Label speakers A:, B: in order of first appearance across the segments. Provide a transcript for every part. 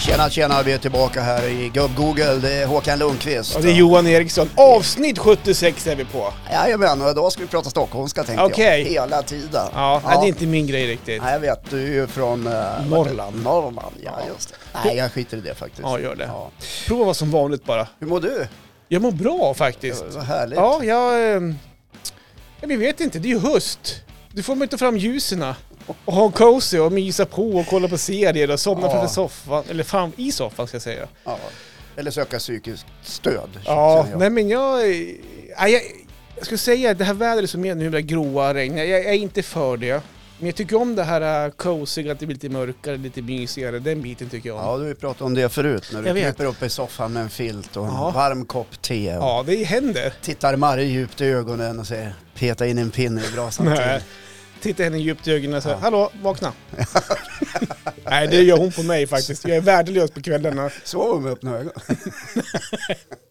A: Tjena, tjena, vi är tillbaka här i Gubb-Google. Det är Håkan Lundqvist.
B: Ja, det är Johan Eriksson. Avsnitt 76 är vi på.
A: Jajamän, och idag ska vi prata stockholmska tänkte
B: Okej.
A: jag. Hela tiden.
B: Ja, nej, det är inte min grej riktigt.
A: Nej, jag vet. Du är ju från... eh,
B: Norrland.
A: Norrland, ja, just det. Nej, jag skiter i det faktiskt.
B: Ja, gör det. Prova vad som vanligt bara.
A: Hur mår du?
B: Jag mår bra faktiskt.
A: Vad härligt.
B: Ja, jag... ehm, Ja, vi vet inte, det är ju höst. Du får mig inte fram ljusen och ha en cozy och mysa på och kolla på serier och somna
A: Ja.
B: framför soffan, eller fram i soffan ska jag säga.
A: Ja. Eller söka psykiskt stöd.
B: Ja,
A: känner jag.
B: nej men jag... eh, Nej, jag, jag skulle säga att det här vädret som är nu, det gråa regnet, jag, jag är inte för det. Men jag tycker om det här äh, cozy, att det blir lite mörkare, lite mysigare, den biten tycker jag om. Ja,
A: Ja, du har ju pratat om det förut. När du
B: Jag vet.
A: kryper upp i soffan med en filt och en
B: Ja.
A: varm kopp te. Och
B: det händer.
A: Tittar Marre djupt i ögonen och säger peta in en pinne i brasan
B: Nej.
A: till.
B: Titta henne djupt i ögonen och säga ”Hallå, vakna!” Nej, det gör hon på mig faktiskt. Jag är värdelös på kvällarna.
A: Sover med öppna ögon.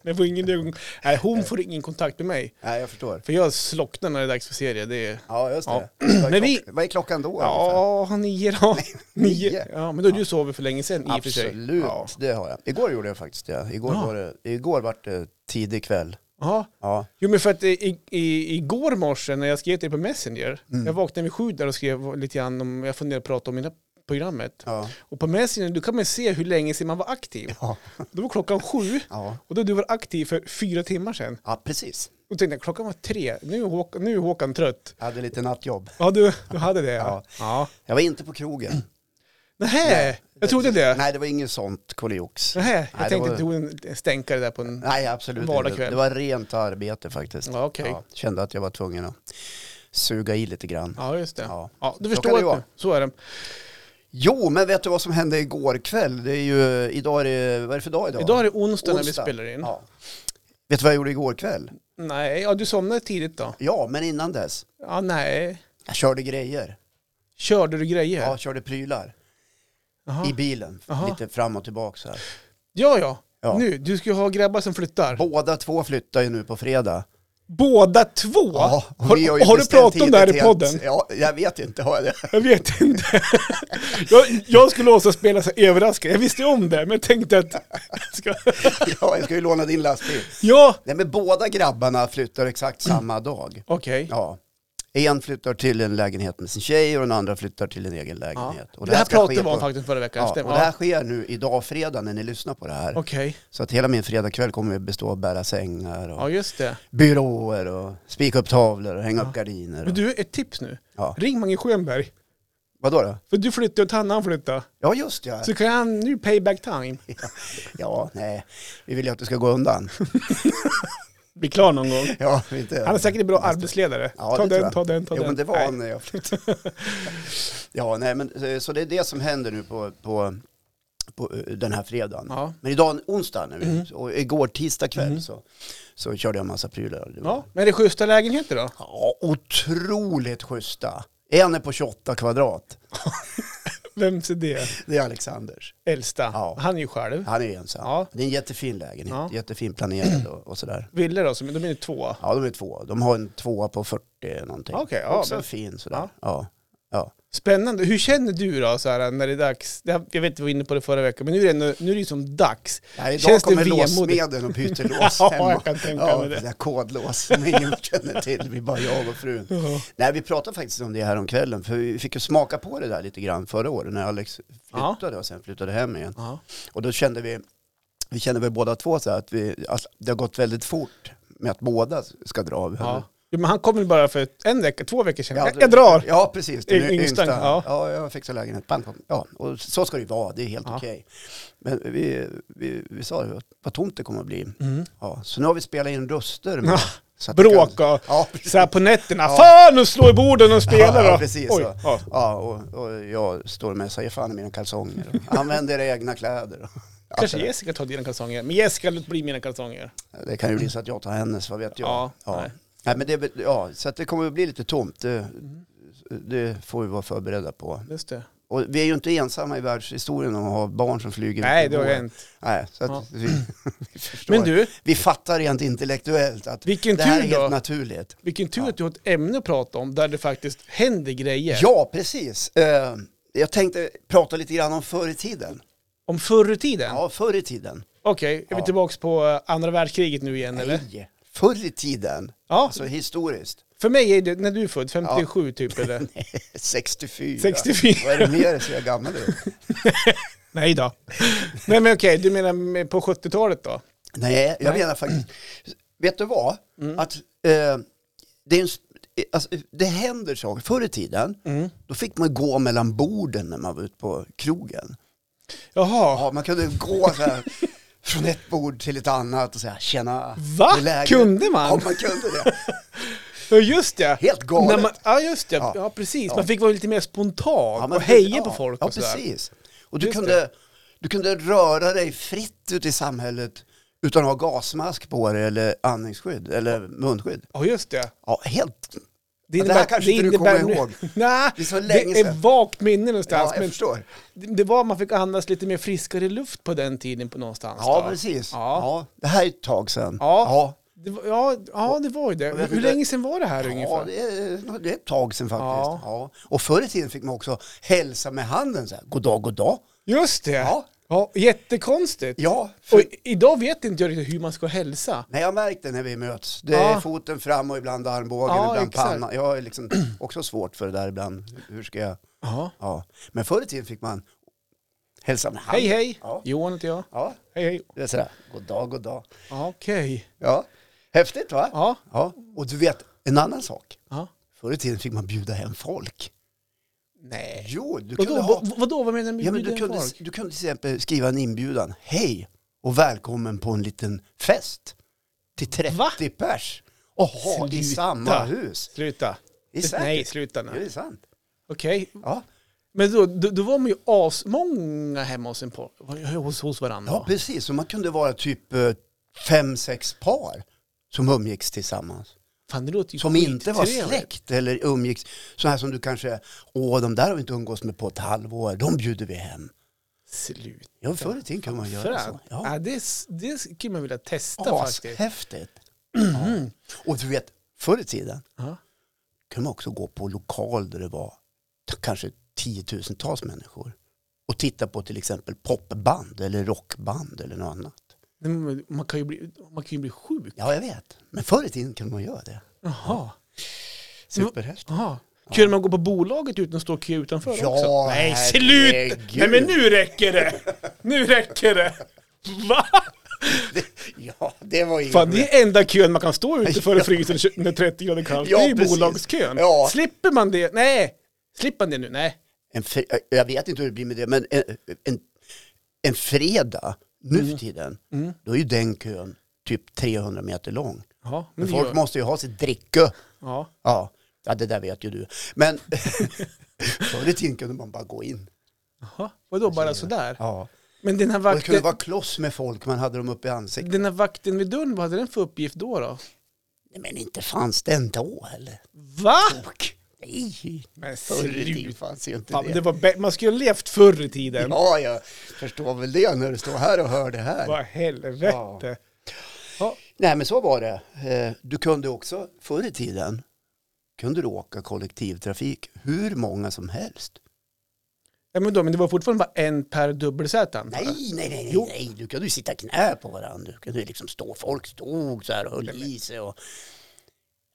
B: Jag får ingen ögon... Nej, hon får ingen kontakt med mig.
A: Nej, jag förstår.
B: För jag slocknar när det är dags för serier. Det är...
A: Ja, just det.
B: Ja.
A: Vad, är
B: Men vi-
A: klock... Vad är klockan då? ungefär?
B: Ja, nio då. Nio.
A: Nio.
B: Ja, men då har du sovit för länge sedan i och för sig.
A: Absolut,
B: Ja.
A: det har jag. Igår gjorde jag faktiskt det. Igår,
B: Ja.
A: var, det... Igår var det tidig kväll.
B: ja.
A: Ja.
B: Jo men för att eh, i, i, igår morse när jag skrev till dig på Messenger,
A: Mm.
B: jag vaknade vid sju där och skrev lite grann om, jag funderade på att prata om mina programmet.
A: Ja.
B: Och på Messenger, då kan man ju se hur länge sedan man var aktiv.
A: Ja.
B: Då var klockan sju,
A: Ja.
B: och då du var aktiv för fyra timmar sedan.
A: ja, precis.
B: Då tänkte jag, klockan var tre, nu är Håkan, nu är Håkan trött.
A: Jag hade lite nattjobb.
B: Ja, du, du hade det.
A: Ja.
B: Ja. ja.
A: Jag var inte på krogen.
B: Nähä, jag trodde det.
A: Nej, det var inget sånt kolliox.
B: Nähä, jag
A: det
B: tänkte
A: var-
B: att du tog en stänkare där på en...
A: Nej, absolut inte.
B: Vardagskväll.
A: Det var rent arbete faktiskt.
B: Ja, okej.
A: kände att jag var tvungen att suga i lite grann.
B: Ja, just det.
A: Ja.
B: Ja,
A: Så
B: du
A: kan det
B: förstår
A: vara.
B: att så är det.
A: Jo, men vet du vad som hände igår kväll? Det är ju, idag är det, vad är det för dag idag?
B: Idag är det onsdag, när vi
A: Onsdag.
B: spelar in.
A: Ja. Vet du vad jag gjorde igår kväll?
B: Nej, ja, du somnade tidigt då.
A: Ja, men innan dess.
B: Ja, nej.
A: Jag körde grejer.
B: Körde du grejer?
A: Ja, jag körde prylar
B: Jaha.
A: i bilen.
B: Aha.
A: Lite fram och tillbaka så här.
B: Ja, ja.
A: Ja.
B: Nu, du ska ju ha grabbar som flyttar.
A: Båda två flyttar ju nu på fredag.
B: Båda två?
A: och
B: har
A: vi ju
B: har, du
A: beställt
B: pratat om det här
A: hit
B: i
A: ett
B: podden?
A: helt- Ja, jag vet inte. Har jag det?
B: Jag vet inte. jag, jag skulle också spela så här överraskad. Jag visste ju om det, men jag tänkte att... Ska...
A: Ja, jag ska ju låna din lastbil.
B: ja!
A: Nej, men båda grabbarna flyttar exakt samma dag.
B: Okej.
A: Ja. En flyttar till en lägenhet med sin tjej och den andra flyttar till en egen
B: Ja.
A: lägenhet. Och
B: det, här
A: ska
B: pratade
A: ske
B: vi om
A: på-
B: faktiskt förra veckan.
A: Ja, och
B: stämmer.
A: det här sker nu idag fredag när ni lyssnar på det här.
B: Okej.
A: Så att hela min fredagkväll kommer att bestå av att bära sängar och
B: Ja, just det.
A: byråer och spika upp tavlor och hänga upp gardiner. Och,
B: Men du, ett tips nu.
A: ja.
B: Ring Mange Schönberg.
A: Vadå då?
B: För du flyttar och Tanna flyttar.
A: Ja just det.
B: Så kan han nu payback time.
A: Ja, nej. Vi vill ju att du ska gå undan.
B: Bli klar någon gång.
A: Ja, inte.
B: Han är säkert en bra arbetsledare.
A: Ja,
B: Alltså,
A: det
B: ta,
A: tror
B: den,
A: jag.
B: ta den, ta
A: jo,
B: den,
A: men det var
B: Nej.
A: han när jag flyttade. ja, nej, men eh, så det är det som händer nu på, på, på eh, den här fredagen.
B: Ja. Mm.
A: Men idag onsdag nu, och igår tisdag kväll så, så körde jag en massa prylar. Det var-
B: Ja, men är det schyssta lägenheter då?
A: ja, otroligt schyssta. En är på 28 kvadrat.
B: Vems är det?
A: Det är Alexanders.
B: Äldsta.
A: Ja.
B: Han är ju själv.
A: Han är ensam.
B: Ja.
A: Det är en jättefin lägenhet,
B: Ja.
A: jättefin planerad och, och sådär.
B: Ville då, som, de är ju två.
A: Ja, de är två. De har en tvåa på 40 någonting.
B: Okej, ja,
A: Också
B: men-
A: fin sådär. Ja. Ja.
B: Spännande. Hur känner du då så här, när det är dags? Det här, jag vet inte, vi var inne på det förra veckan, men nu är det, ändå, nu är det ju som dags.
A: Nej, idag
B: Känns det
A: kommer
B: vemodigt?
A: låssmeden och byter lås
B: Ja,
A: hemma.
B: jag kan tänka mig det.
A: där kodlås som ingen känner till. Vi bara jag och frun. Nej, vi pratade faktiskt om det här om kvällen. För vi fick ju smaka på det där lite grann förra året när Alex
B: Ja.
A: flyttade och sen flyttade hem igen.
B: Ja.
A: Och då kände vi, vi kände väl båda två så här att vi, alltså, det har gått väldigt fort med att båda ska dra.
B: Ja. Jo, men han kom väl bara för en vecka, två veckor sedan.
A: Ja,
B: jag, jag drar!
A: Ja, precis. Den
B: Yng-
A: yngsta.
B: yngsta,
A: Ja.
B: ja.
A: jag fixar lägenhet. Bang, bang. Ja, och så ska det ju vara. Det är helt
B: Ja.
A: okej. Men vi, vi, vi sa ju att vad tomt det kommer att bli. Ja, så nu har vi spelat in röster. Med,
B: Mm. Ja.
A: så att det
B: Bråk
A: kan-
B: och
A: Ja,
B: så här på nätterna.
A: Ja.
B: Fan, nu slår i borden och spelar!
A: Ja, ja,
B: då.
A: precis
B: Oj,
A: så.
B: ja.
A: Ja, och, och jag står med och säger fan i mina kalsonger. Och Använd era egna kläder.
B: Kanske Jessica tar dina kalsonger. Men Jessica låter bli mina kalsonger.
A: Det kan ju bli så att jag tar hennes, vad vet jag.
B: Ja,
A: ja.
B: nej.
A: Nej, men det, är väl- ja, så att det kommer att bli lite tomt. Det,
B: Mm.
A: det får vi vara förberedda på.
B: Just det.
A: Och vi är ju inte ensamma i världshistorien om att ha barn som flyger.
B: Nej,
A: ut
B: det
A: i
B: har ju
A: våren.
B: hänt.
A: Nej, så att
B: Ja.
A: vi, vi förstår.
B: Men du,
A: Vi fattar rent intellektuellt att
B: vilken
A: det här är
B: tur
A: helt
B: då.
A: naturligt.
B: Vilken tur
A: Ja.
B: att du har ett ämne att prata om där det faktiskt händer grejer.
A: Ja, precis. Eh, Jag tänkte prata lite grann om förr i tiden.
B: Om förr i tiden?
A: Ja, förr i tiden.
B: Okej, är vi
A: Ja.
B: tillbaka på eh, andra världskriget nu igen eller?
A: Nej, förr i tiden.
B: Ja,
A: Alltså historiskt.
B: för mig är det när du är född, 57 typ eller?
A: 64.
B: 64.
A: Vad är det mer så jag är gammal nu?
B: Nej då. Nej men okej, du menar med- på 70-talet då?
A: Nej, jag
B: Nej. Mm.
A: menar faktiskt. Vet du vad? Att eh, det, är en, sp- alltså, det händer saker. Förr i tiden,
B: Mm.
A: då fick man gå mellan borden när man var ute på krogen.
B: Jaha,
A: Ja, man kunde gå så här, från ett bord till ett annat och säga tjena.
B: Va?
A: det är läget.
B: Kunde man?
A: Ja, man kunde det.
B: ja just ja.
A: Helt galet.
B: När Man, ja just ja,
A: Ja.
B: ja precis.
A: Ja.
B: Man fick vara lite mer spontan
A: Ja, man
B: och
A: fick-
B: heja
A: ja,
B: på folk
A: Ja,
B: och sådär.
A: precis. Och du
B: Just
A: kunde, du kunde röra dig fritt ute i samhället utan att ha gasmask på dig eller andningsskydd eller munskydd.
B: Ja just ja.
A: Ja, helt
B: Det,
A: Ja, det här kanske inte du
B: innebär
A: kommer
B: nu-
A: ihåg.
B: Nej,
A: Det är så länge
B: det är
A: sedan.
B: vagt minne någonstans.
A: Ja, jag
B: men
A: förstår.
B: det det var man fick andas lite mer friskare luft på den tiden på någonstans.
A: Ja,
B: då.
A: precis.
B: Ja.
A: Ja. Det här är ett tag sedan.
B: Ja. Det var, ja, ja, det var ju det.
A: vet
B: Hur
A: inte-
B: länge sedan var det här
A: Ja, ja
B: ungefär?
A: det, är, det är ett tag sedan
B: Ja.
A: faktiskt. Ja. Och förr i tiden fick man också hälsa med handen. Så här, god dag, god dag.
B: Just det. Ja.
A: Ja.
B: jättekonstigt.
A: Ja, för,
B: Och i- idag vet inte jag riktigt hur man ska hälsa.
A: nej, jag märkte när vi möts. Det är
B: Ja.
A: foten fram och ibland armbågen,
B: Ja,
A: ibland
B: exakt.
A: pannan. Jag är liksom också svårt för det där ibland. Hur ska jag?
B: Ja.
A: Ja. Men förr i tiden fick man hälsa med handen.
B: Hej hej,
A: Ja.
B: Johan heter jag.
A: Ja,
B: Hej hej.
A: det är sådär, god dag, god dag.
B: Ja, Okej.
A: Ja, häftigt va?
B: Ja.
A: ja. Och du vet, en annan sak.
B: ja.
A: Förr i tiden fick man bjuda hem folk.
B: Nej.
A: Jo, du kunde
B: Vadå,
A: ha...
B: vad, vadå, vad menar du med
A: Ja, men du,
B: bjuden
A: kunde,
B: folk?
A: du kunde till exempel skriva en inbjudan. Hej och välkommen på en liten fest till 30
B: Va?
A: pers. Och ha i
B: Sluta.
A: samma hus.
B: Sluta.
A: Det är sant.
B: Nej, sluta nu.
A: Ja, det är sant.
B: Okej.
A: Ja,
B: Men då, då, då var man ju asmånga hemma hos, en par, hos, hos varandra.
A: ja precis. Och man kunde vara typ eh, fem, sex par som umgicks tillsammans.
B: Fan, det låter ju
A: Som inte var
B: skittrevligt.
A: släkt eller umgicks. Så här som du kanske, åh de där har vi inte umgås med på ett halvår, de bjuder vi hem.
B: Slut.
A: Ja, förr i tiden kunde man göra
B: Fränt.
A: så.
B: Ja.
A: Ja.
B: det, s- det skulle man vilja testa faktiskt.
A: Ashäftigt. Ja. Mm. Och du vet, förr i tiden
B: Ja.
A: kunde man också gå på lokal där det var t- kanske tiotusentals människor och titta på till exempel popband eller rockband eller något annat.
B: Nej, men Man kan ju bli, man kan ju bli sjuk.
A: Ja, jag vet. Men förr i tiden kunde man göra det.
B: Jaha.
A: Superhäftigt.
B: Jaha. Kunde man gå på bolaget utan att stå och kö utanför
A: Ja,
B: också? Nej, slut!
A: herregud.
B: Nej, men nu räcker det! Nu räcker det! Va?
A: Ja, det var inget
B: Mm. Fan,
A: problem.
B: det är enda kön man kan stå ute före frysen tjo- när 30 grader kallt.
A: Ja,
B: det är ju
A: precis.
B: bolagskön.
A: Ja.
B: Slipper man det? Nej! Slipper man det nu? Nej.
A: En fre- eh, jag- jag vet inte hur det blir med det, men en, en, en fredag nu
B: Mm.
A: för tiden, då är ju den kön typ 300 meter lång.
B: Ja, men
A: Men
B: det
A: folk
B: gör-
A: måste ju ha sitt dricka.
B: ja.
A: Ja. ja, det där vet ju du. Men förr i tiden kunde man bara gå in.
B: Jaha. Vadå, bara sådär?
A: Ja.
B: Men den här
A: Och det kunde
B: vakten,
A: vara kloss med folk, man hade dem uppe i ansiktet.
B: den här vakten vid dörren, vad hade den för uppgift då? då?
A: Nej, Men inte fanns det ändå heller.
B: Va?
A: Nej,
B: Men
A: förr i
B: sluta.
A: tiden fanns ju inte
B: Fan, men det
A: det.
B: var bä- man skulle ha levt förr i tiden.
A: Ja, jag förstår väl det när du står här och hör det här.
B: Vad helvete. Ja.
A: Nej, men så var det. Eh, Du kunde också, förr i tiden, kunde du åka kollektivtrafik hur många som helst.
B: Ja, men, då, men det var fortfarande bara en per dubbelsäte antar
A: Nej,
B: jag?
A: nej, nej, nej,
B: Jo.
A: nej. du kunde ju sitta knä på varandra. Du kunde ju liksom stå, folk stod så här och höll i sig och...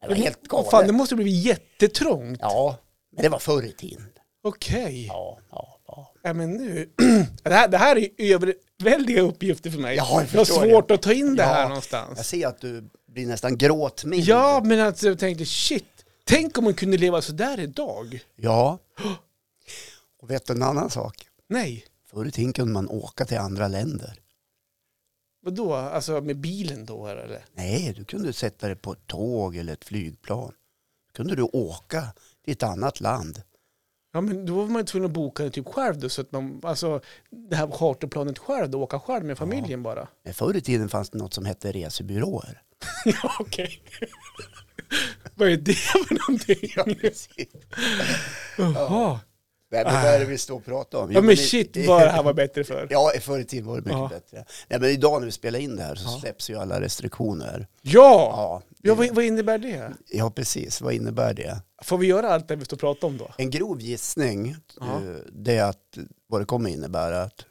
A: Det var helt
B: Åh, Fan, det
A: galet.
B: måste ha blivit jättetrångt.
A: Ja, men det var förr i tiden.
B: Okej.
A: Ja, ja, ja.
B: Ja, men nu. det, här, det här är ju överväldiga uppgifter för mig.
A: Ja, jag
B: har
A: förstår
B: svårt
A: det.
B: att ta in det här
A: Ja, Jag
B: någonstans.
A: ser att du blir nästan gråtmild.
B: Ja, men alltså, jag tänkte shit. Tänk om man kunde leva sådär idag.
A: Ja. Och vet du en annan sak?
B: Nej.
A: Förr i tiden kunde man åka till andra länder.
B: Vadå? Alltså med bilen då eller?
A: Nej, du kunde sätta dig på ett tåg eller ett flygplan. Då kunde du åka till ett annat land.
B: Ja men då var man ju tvungen att boka det typ själv då så att man, alltså det här charterplanet själv då, åka själv med familjen bara.
A: Men förr i tiden fanns det något som hette resebyråer.
B: ja okej. Vad är det för någonting?
A: precis.
B: Jaha.
A: Nej, men vad är det vi står och pratar om? Jo,
B: Ah. Ja men
A: i-
B: shit vad det här var bättre för.
A: Ja, förr i tiden var det mycket
B: Ja.
A: bättre. Nej, men idag när vi spelar in det här så
B: Ja.
A: släpps ju alla restriktioner.
B: Ja!
A: Ja,
B: Ja, vad, vad innebär det?
A: ja, precis. Vad innebär det?
B: Får vi göra allt det vi står och pratar om då?
A: En grov gissning,
B: Ja.
A: eh, det är att vad det kommer innebära att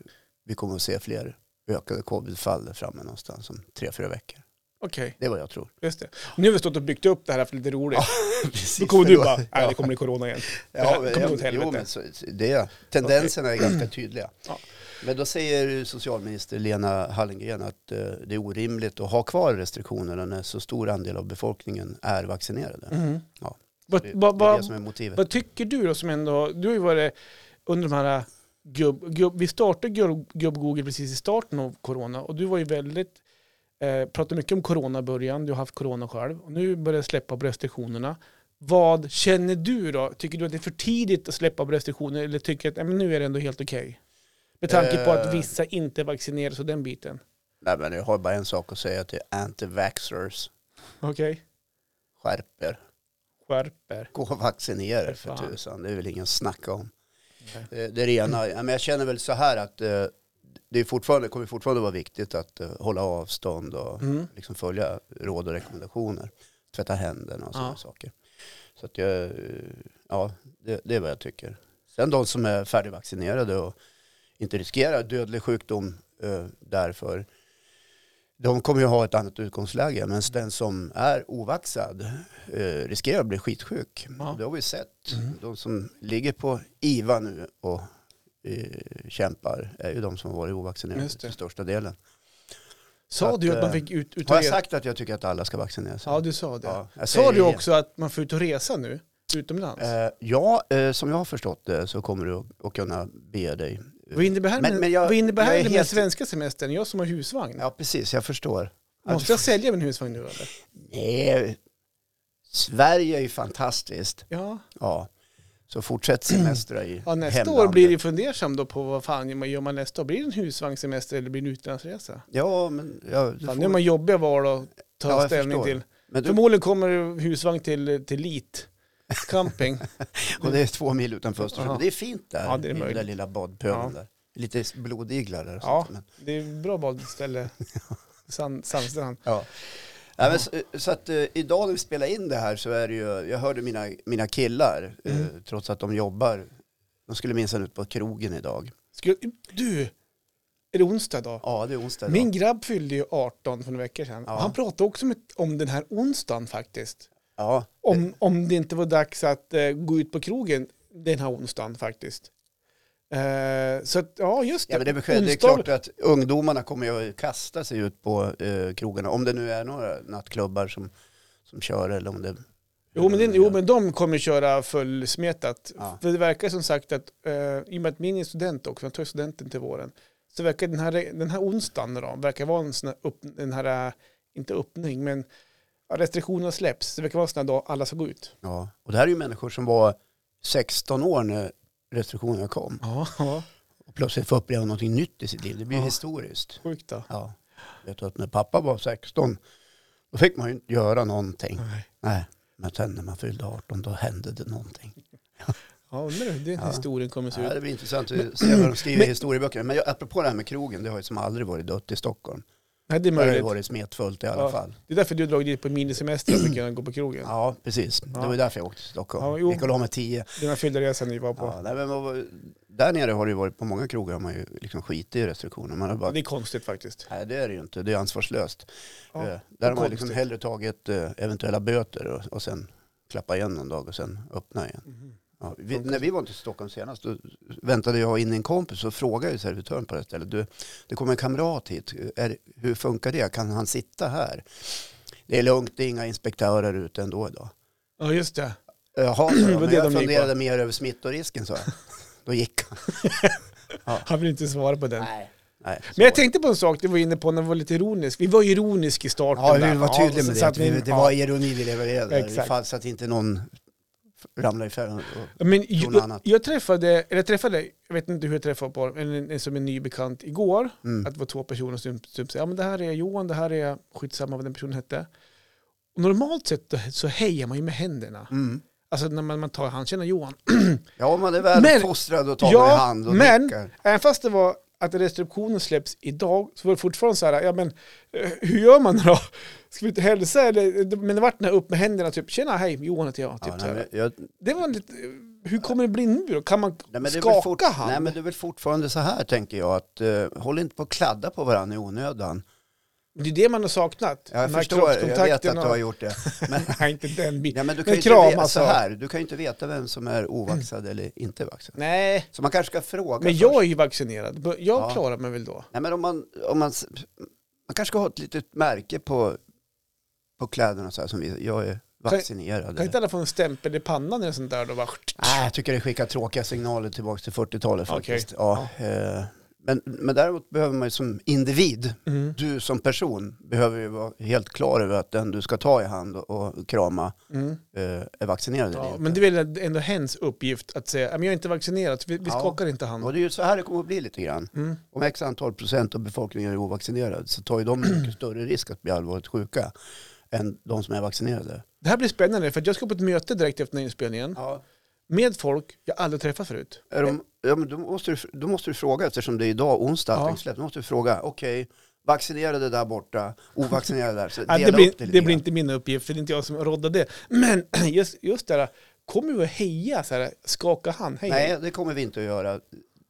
A: vi kommer att se fler ökade covidfall där framme någonstans om tre, fyra veckor.
B: Okej,
A: Det är vad jag tror.
B: just det. Nu har vi stått och byggt upp det här för lite roligt.
A: precis.
B: Då kommer du
A: Förlåt.
B: bara, nej det kommer bli corona igen. det här
A: Ja, men-
B: kommer gå åt
A: ja, jo,
B: helvete.
A: men så, så det, tendenserna är ganska tydliga.
B: Ja.
A: Men då säger socialminister Lena Hallengren att eh, det är orimligt att ha kvar restriktionerna när så stor andel av befolkningen är vaccinerade.
B: Mhm.
A: Mm. Ja.
B: Vad-
A: Det,
B: vad-
A: det är
B: vad-
A: det som är motivet.
B: Vad tycker du då som ändå, du har ju varit under de här äh, gubb, gubb, vi startade gubb, gubb Google precis i starten av corona och du var ju väldigt, eh, pratade mycket om corona i början, du har haft corona själv och nu börjar jag släppa på restriktionerna. Vad känner du då? Tycker du att det är för tidigt att släppa på restriktioner eller tycker du att nej, men nu är det ändå helt okej? Med tanke på att
A: Eh.
B: vissa inte vaccineras och den biten.
A: Nej, men jag har bara en sak att säga till anti-vaxxers.
B: Okej,
A: Skärp er.
B: skärper.
A: Gå och vaccinera er för
B: Fan.
A: tusan. Det är väl ingen snacka om. Det, det är det ena. Ja, men jag känner väl så här att eh, det är fortfarande, kommer fortfarande vara viktigt att eh, hålla avstånd och
B: Mm.
A: liksom följa råd och rekommendationer. Tvätta händerna och sådana
B: Ja.
A: saker. Så att jag, eh, ja, det, det är vad jag tycker. Sen de som är färdigvaccinerade och inte riskerar dödlig sjukdom eh, därför, de kommer ju ha ett annat utgångsläge. Men den som är ovaxad eh, riskerar att bli skitsjuk.
B: Ja.
A: Det har vi sett.
B: Mm.
A: De som ligger på IVA nu och eh, kämpar är ju de som har varit ovaccinerade
B: Just det.
A: till största delen.
B: Sa
A: Att,
B: du att man
A: eh,
B: fick ut, ut och
A: Har jag
B: resa?
A: sagt att jag tycker att alla ska vaccinera sig?
B: Ja, du sa det.
A: Ja, jag säger
B: Sa
A: det
B: du
A: igen.
B: också att man får ut och resa nu, utomlands?
A: Eh, ja, eh, som jag har förstått det så kommer du att- att kunna bege dig.
B: vad innebär det här
A: men-
B: med,
A: men jag-
B: vad innebär
A: jag
B: här
A: är
B: med
A: helt-
B: svenska semestern? Jag som har husvagn.
A: Ja, alltså- precis. Jag förstår. Att-
B: Måste jag sälja min husvagn nu eller?
A: Nej, Sverige är ju fantastiskt.
B: Ja,
A: Ja, så fortsätt semestra i
B: ja nästa år
A: hemlandet.
B: blir det fundersam då på vad fan man gör man nästa år. Blir det en husvagnssemester eller blir det en utlandsresa?
A: Ja, men... Ja, du
B: Fan,
A: får-
B: nu är man jobbiga val att ta
A: Ja, jag
B: ställning
A: förstår.
B: till.
A: men du,
B: Förmodligen kommer det husvagn till, till Lit camping.
A: och det är två mil utanför Östersund.
B: Aha.
A: Men Det är fint där,
B: Ja, det är
A: i den där
B: möjligt.
A: lilla badpölen där. Lite blodiglar där och
B: Ja.
A: sånt. Men,
B: det är ett bra badställe. Sand, sandstrand.
A: ja. Ja, men så, så att eh, idag när vi spelar in det här så är det ju, jag hörde mina, mina killar, eh, trots att de jobbar, de skulle minsann ut på krogen idag.
B: Skulle, du, är det onsdag idag?
A: Ja, det är onsdag idag.
B: Min grabb fyllde ju 18 för några veckor sedan.
A: Ja.
B: Och Han pratade också om ett- om den här onsdagen faktiskt.
A: Ja,
B: Om, om det inte var dags att eh, gå ut på krogen den här onsdagen faktiskt. Eh, så att, ja just det.
A: ja men det, är besked, det är
B: Onsdag-
A: klart att ungdomarna kommer ju att kasta sig ut på eh, krogarna, om det nu är några nattklubbar som, som kör eller om det...
B: Jo men, den, jo men de kommer köra fullsmetat.
A: Ja.
B: För det verkar som sagt att, eh, i och med att min är student också, jag tar studenten till våren, så verkar den här, den här onsdagen då, verkar vara en sån här, upp, den här eh, inte öppning, men ja, restriktionerna släpps. Det verkar vara en sån här dag alla ska gå ut.
A: Ja. Och det här är ju människor som var 16 år när restriktionerna kom
B: Ja, ja.
A: och plötsligt får uppleva någonting nytt i sitt liv. Det blir
B: Ja.
A: historiskt.
B: sjukt då.
A: Ja. Vet du att när pappa var 16, då fick man ju inte göra någonting.
B: Nej.
A: Nej, men sen när man fyllde 18, då hände det någonting.
B: Ja, undrar hur den
A: Ja.
B: historien kommer se
A: Ja,
B: ut.
A: det blir intressant att se vad de skriver i
B: men-
A: historieböckerna. Men jag, apropå det här med krogen, det har ju som aldrig varit dött i Stockholm.
B: Nej, det är
A: Det har ju
B: möjligt.
A: varit smetfullt i alla
B: Ja.
A: fall.
B: Det är därför du drog dit på minisemester för att kunna gå på krogen.
A: Ja, precis. Det
B: Ja.
A: var ju därför jag åkte till Stockholm.
B: Ja, jo.
A: Gick och la mig tio.
B: Den här fyllda resan ni var på.
A: Ja, nej, men vad var- där nere har det ju varit, på många krogar har man ju liksom skitit i restriktioner. Man har bara,
B: Det är konstigt faktiskt.
A: nej det är det ju inte, det är ansvarslöst.
B: Ja,
A: Eh, där har man liksom
B: konstigt.
A: hellre tagit eh, eventuella böter och, och sen klappa igen någon dag och sen öppna igen.
B: Mhm.
A: Ja, vi, när vi var till Stockholm senast då väntade jag in en kompis och frågade ju servitören på det här stället. Du, det kommer en kamrat hit. Är, hur funkar det? Kan han sitta här? Det är lugnt, det är inga inspektörer ute ändå idag.
B: Ja, just det.
A: Jaha, sa
B: Det
A: jag,
B: var
A: men
B: det
A: jag
B: de gick
A: funderade mer över smittorisken, sa jag. Då gick han.
B: Han vill inte svara på den.
A: Nej. Nej, så
B: Men jag
A: var det.
B: tänkte på en sak du var inne på när vi var lite ironisk. Vi var ju ironisk i starten.
A: Ja, vi
B: där.
A: vill vara tydliga
B: så-
A: med
B: så
A: det.
B: att
A: Att vi,
B: ni-
A: det var
B: ja.
A: ironi vi levererade.
B: Exakt.
A: Exakt. Så att inte någon ramlar i fällan. och-
B: Men
A: Från något
B: jag,
A: annat.
B: jag träffade, eller jag träffade, jag vet inte hur jag träffade på en, en, en som är ny bekant igår.
A: Mm.
B: Att det var två personer som typ säger, ja men det här är Johan, det här är, skitsamma vad den personen hette. Och normalt sett då- så hejar man ju med händerna.
A: Mm.
B: Alltså när man, man tar hand, känner Johan.
A: Ja, man är väl
B: Men-
A: fostrad och tar
B: Ja,
A: i hand och
B: men-
A: nickar.
B: Även fast det var att restriktionen släpps idag så var det fortfarande så här, ja men eh, hur gör man då? Ska vi inte hälsa eller? Men det vart den här upp med händerna typ, tjena hej Johan heter jag. Typ,
A: Ja,
B: så
A: nej,
B: här.
A: men jag,
B: Det var lite, eh, hur kommer det bli nu då? Kan man
A: nej, men det är väl
B: skaka
A: fort,
B: hand?
A: nej, men det är väl fortfarande så här tänker jag. Att, eh, håll inte på och kladda på varandra i onödan.
B: Det är det man har saknat.
A: Jag
B: Den här
A: förstår, jag vet
B: kroppskontakten
A: att du har gjort det. Men,
B: och, Nej, inte den biten.
A: nej, men du kan
B: Men
A: ju inte
B: kramas
A: veta, så
B: och- Mm.
A: här, du kan ju inte veta vem som är ovaxad eller inte vaxad.
B: Nej,
A: Så man kanske ska fråga
B: men
A: först.
B: jag är ju vaccinerad. Jag
A: Ja.
B: klarar mig väl då?
A: Nej, men om man, om man, s- man kanske ska ha ett litet märke på, på kläderna så här som vi, jag är vaccinerad.
B: Kan inte alla få en stämpel i pannan eller sånt där då? Bara...
A: Nej, jag tycker det skickar tråkiga signaler tillbaka till 40-talet faktiskt. Ja, eh, men, men däremot behöver man ju som individ,
B: Mm.
A: du som person, behöver ju vara helt klar över att den du ska ta i hand och, och krama
B: Mm.
A: eh, är vaccinerad eller
B: Ja,
A: inte.
B: men det är väl ändå hens uppgift att säga, "Men jag är inte vaccinerad, så vi, vi
A: Ja.
B: skakar inte hand.
A: Och det är ju så här det kommer att bli lite grann.
B: Mm.
A: Om x antal procent av befolkningen är ovaccinerad så tar ju de mycket större risk att bli allvarligt sjuka än de som är vaccinerade.
B: Det här blir spännande, för att jag ska på ett möte direkt efter den här inspelningen
A: Ja.
B: med folk jag aldrig träffat förut.
A: Är de, ja, men då, måste du, då måste du fråga, eftersom det är idag onsdag,
B: Ja.
A: ja. släpp, då måste du fråga, okej, vaccinerade där borta, ovaccinerade där. Så
B: Ja,
A: dela
B: det, blir,
A: upp det,
B: det,
A: lite
B: blir
A: grann.
B: inte min uppgift, för det är inte jag som roddar det. Men just, just det här, kommer vi att heja så här, skaka hand, hej, hej.
A: Nej, det kommer vi inte att göra.